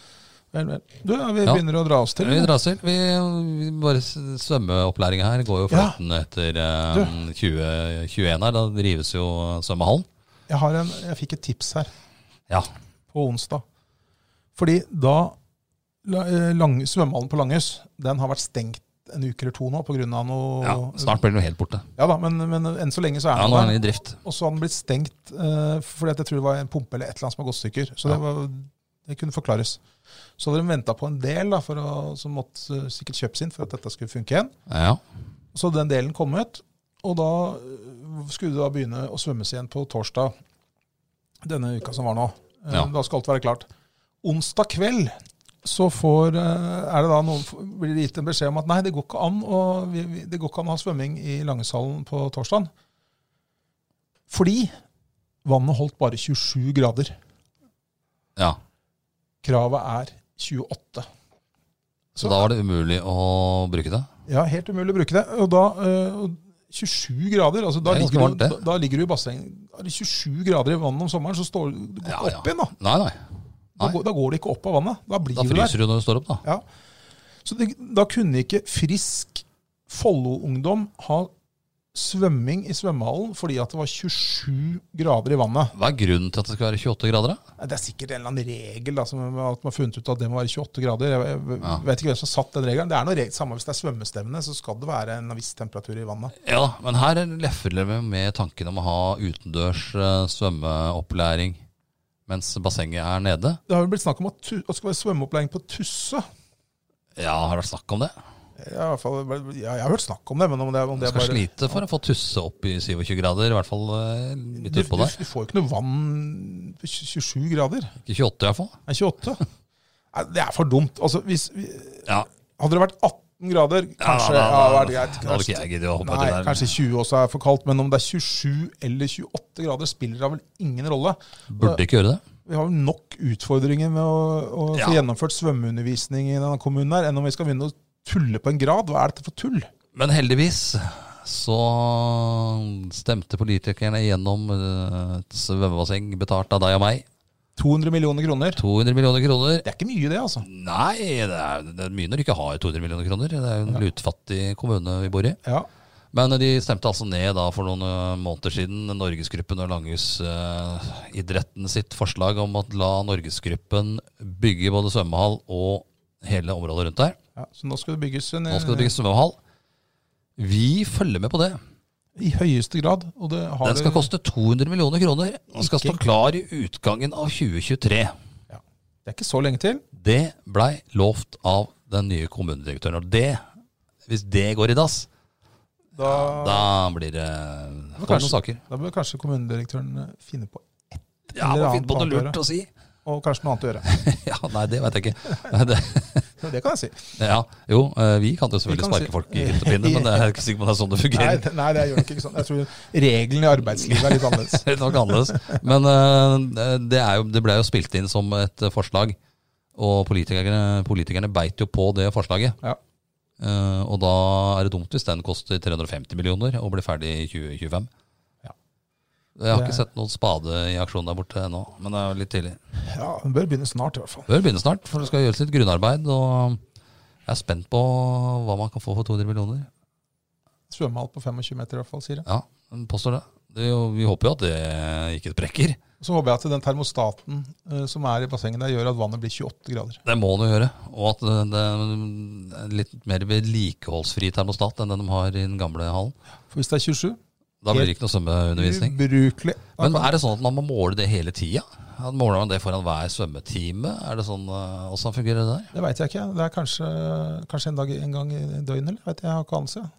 Vel, vel. Du, ja, vi Ja. begynner å dra oss til. Vi drar oss til. Vi, vi bare s- Svømmeopplæringen her går jo Ja. fløyten etter eh, 2021 her. Da rives jo eh, svømmehallen. Jeg, har en, jeg fikk et tips her Ja. på onsdag. Fordi da la- eh, lang, svømmehallen på Langhus den har vært stengt en uke eller to nå pga. noe ja. Snart blir den jo helt borte. Ja da, men, men enn så lenge så er Ja, den nå er der. den i drift. Og så har den blitt stengt eh, fordi at jeg tror det var en pumpe eller et eller annet som har gått stykker. Så Ja. det, var, det kunne forklares. Så hadde de venta på en del da, for å, som måtte eh, sikkert kjøpes inn for at dette skulle funke igjen. Ja. Så hadde den delen kommet, og da eh, skulle det da begynne å svømmes igjen på torsdag denne uka som var nå. Eh, Ja. Da skal alt være klart. Onsdag kveld så får, eh, er det da noen, blir det gitt en beskjed om at nei, det går ikke an å, vi, vi, det går ikke an å ha svømming i Langeshallen på torsdagen. Fordi vannet holdt bare 27 grader. ja. Kravet er 28. Så da var det umulig å bruke det. Ja, helt umulig å bruke det. Og da eh, og 27 grader, altså da Det er ganske ligger, varmt, du, det. da, da ligger du i bassenget. Er det 27 grader i vannet om sommeren, så står du du går Ja, ikke ja. opp igjen. Da Nei, nei. Da, Nei. går, da går det ikke opp av vannet. Da blir Da du der. fryser du når du står opp, da. Ja. Så det, da kunne ikke frisk Follo-ungdom ha svømming i svømmehallen fordi at det var 27 grader i vannet. Hva er grunnen til at det skal være 28 grader, da? Nei, Det er sikkert en eller annen regel da, som at man har funnet ut at det må være 28 grader. Jeg, jeg Ja. vet ikke hvem som har satt den regelen. Det er noe regel, Samme hvis det er svømmestevne, så skal det være en viss temperatur i vannet. Ja, men her leffer vi med tanken om å ha utendørs eh, svømmeopplæring mens bassenget er nede. Det har jo blitt snakk om at tu- at det skal være svømmeopplæring på Tusse. Ja, har det vært snakk om det? Jeg, har i hvert fall, ja, jeg har hørt snakk om det, men om det, om Du det er skal bare slite for å få tusse opp i 27 grader, i hvert fall eh, litt du, utpå du, der. du får jo ikke noe vann på 27 grader. Ikke 28 i hvert fall. Nei, 28. Nei, det er for dumt. Altså, hvis, vi- Ja, hadde det vært 18 grader, kanskje da- da- ja, det hadde vært greit. da hadde ikke jeg giddet å hoppe Nei, uti der. Kanskje 20 også er for kaldt, men om det er 27 eller 28 grader, spiller da vel ingen rolle. Burde ikke gjøre det. Vi har jo nok utfordringer med å, å Ja. få gjennomført svømmeundervisning i denne kommunen her, enn om vi skal begynne å tulle på en grad. Hva er dette for tull? Men heldigvis så stemte politikerne igjennom eh, et svømmebasseng betalt av deg og meg. 200 millioner kroner. 200 millioner kroner. Det er ikke mye, det, altså. Nei, det er, det er mye når du ikke har 200 millioner kroner. Det er jo en lutfattig kommune vi bor i. Ja. Men de stemte altså ned da for noen ø, måneder siden Norgesgruppen og Langhus-idretten sitt forslag om å la Norgesgruppen bygge både svømmehall og hele området rundt der. ja. Så nå skal det bygges en Nå skal det bygges svømmehall. Vi følger med på det. eh, i høyeste grad. Og det har Den skal det- koste 200 millioner kroner og skal stå Ikke- klar i utgangen av 2023. Det er ikke så lenge til. Det blei lovt av den nye kommunedirektøren. Og det, hvis det går i dass, Da, Da blir det Det får var kanskje- noen saker. da bør kanskje kommunedirektøren eh, finne på Ja, eller må annet finne på noe annet å lurt gjøre. å si. Og kanskje noe annet å gjøre. Ja, Nei, det veit jeg ikke. Nei, Det, Men Det kan jeg si. ja, jo, eh, vi kan jo Vi selvfølgelig kan si- sparke folk i hyttepinne, men det er ikke sikkert på det er sånn det Nei, fungerer. det- nei, det gjør nok ikke sånn. Jeg tror reglene i arbeidslivet er litt annerledes. Litt nok annerledes. Men eh, det, er jo, det ble jo spilt inn som et eh, forslag, og politikerne, politikerne beit jo på det forslaget. Ja. Eh, og da er det dumt hvis den koster 350 millioner og blir ferdig i 2025. Ja. Jeg har Det er- ikke sett noen spade i aksjon der borte ennå, men det er jo litt tidlig. Ja, Den bør begynne snart, i hvert fall. Bør begynne snart, for det skal gjøres litt grunnarbeid. Og jeg er spent på hva man kan få for 200 millioner. Svømmehall på 25 meter, i hvert fall, sier jeg. Ja, den påstår det. det er jo, vi håper jo at det ikke sprekker. Så håper jeg at den termostaten eh, som er i bassenget der, gjør at vannet blir 28 grader. Det må den jo gjøre. Og at det det er en litt mer vedlikeholdsfri termostat enn den de har i den gamle hallen. For hvis det er 27 Da blir det ikke noe svømmeundervisning. Ubrukelig. Da Men kan- er det sånn at man må måle det hele tida? At Måler man det foran hver svømmetime? Er det sånn, eh, Hvordan fungerer det der? Det veit jeg ikke. Det er kanskje, kanskje en, dag, en gang i døgnet, eller? Vet jeg, jeg har ikke anelse.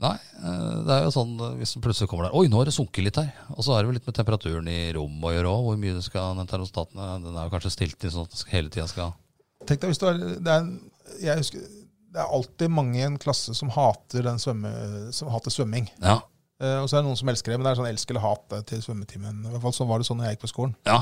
Nei, eh, det er jo sånn eh, hvis det plutselig kommer der Oi, nå har det sunket litt her. Og så er det vel litt med temperaturen i rommet å gjøre òg. Hvor mye det skal den termostaten eh, Den er jo kanskje stilt inn sånn at den skal- hele tida skal Tenk deg hvis du er, det, er en, jeg husker, det er alltid mange i en klasse som hater, den svømme, som hater svømming. Ja. Eh, og så er det noen som elsker det, men det er sånn elsk eller hat eh, til svømmetimen. I hvert fall sånn var det sånn når jeg gikk på skolen. ja.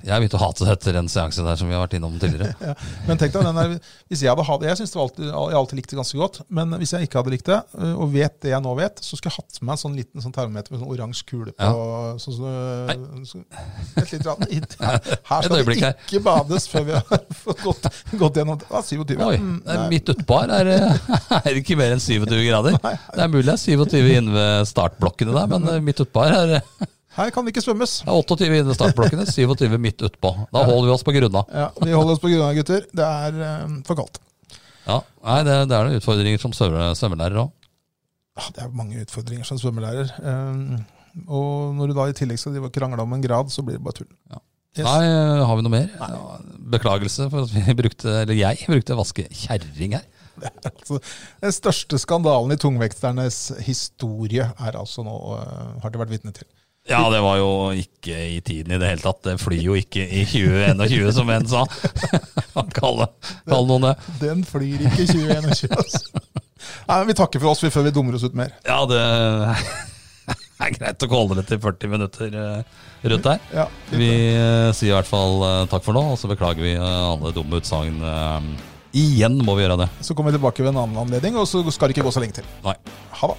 Jeg begynte å hate det etter en seanse der som vi har vært innom tidligere. Men tenk deg, den der, hvis Jeg hadde hatt, jeg synes det var alltid, jeg alltid likte det ganske godt, men hvis jeg ikke hadde likt det, eh, og vet det jeg nå vet, så skulle jeg hatt med meg en sånn liten sånn termometer med sånn oransje kule på. Sånn, som, eh, så, et lite grann. hit. Her skal det øyeblikk her. ikke bades før vi har fått gått, gått gjennom ah, 27. Oi, Mm, det er nei. midt utpå her er, det- er det ikke mer enn 27 grader. Det er mulig det er 27 inne ved startblokkene der, men eh, midt utpå her er det Her kan det ikke svømmes. det er 28 inne ved startblokkene, 27 midt utpå. Da holder vi oss på grunna. Ja, Vi holder oss på grunna, gutter. Det er eh, for kaldt. Ja, nei, det, det er noen utfordringer som svømme- svømmelærer òg. Ja, Ah, Det er mange utfordringer som svømmelærer. Eh, og når du da i tillegg skal drive og krangle om en grad, så blir det bare tull. Ja. Yes. Nei, eh, har vi noe mer? Ja, beklagelse for at vi brukte, eller jeg brukte vaskekjerring her. Altså, den største skandalen i tungvekternes historie er altså nå, eh, har de vært vitne til. Ja, det var jo ikke i tiden i det hele tatt. Det flyr jo ikke i 2021, som en sa. Kall kall noen det. Den flyr ikke i 2021. altså. Nei, men Vi takker for oss vi, før vi dummer oss ut mer. Ja, det er greit å holde det til 40 minutter eh, rundt der. Ja, Vi eh, sier i hvert fall eh, takk for nå, og så beklager vi eh, alle dumme utsagn. eh, Igjen må vi gjøre det. Så kommer vi tilbake ved en annen anledning, og så skal det ikke gå så lenge til. Nei. Ha det.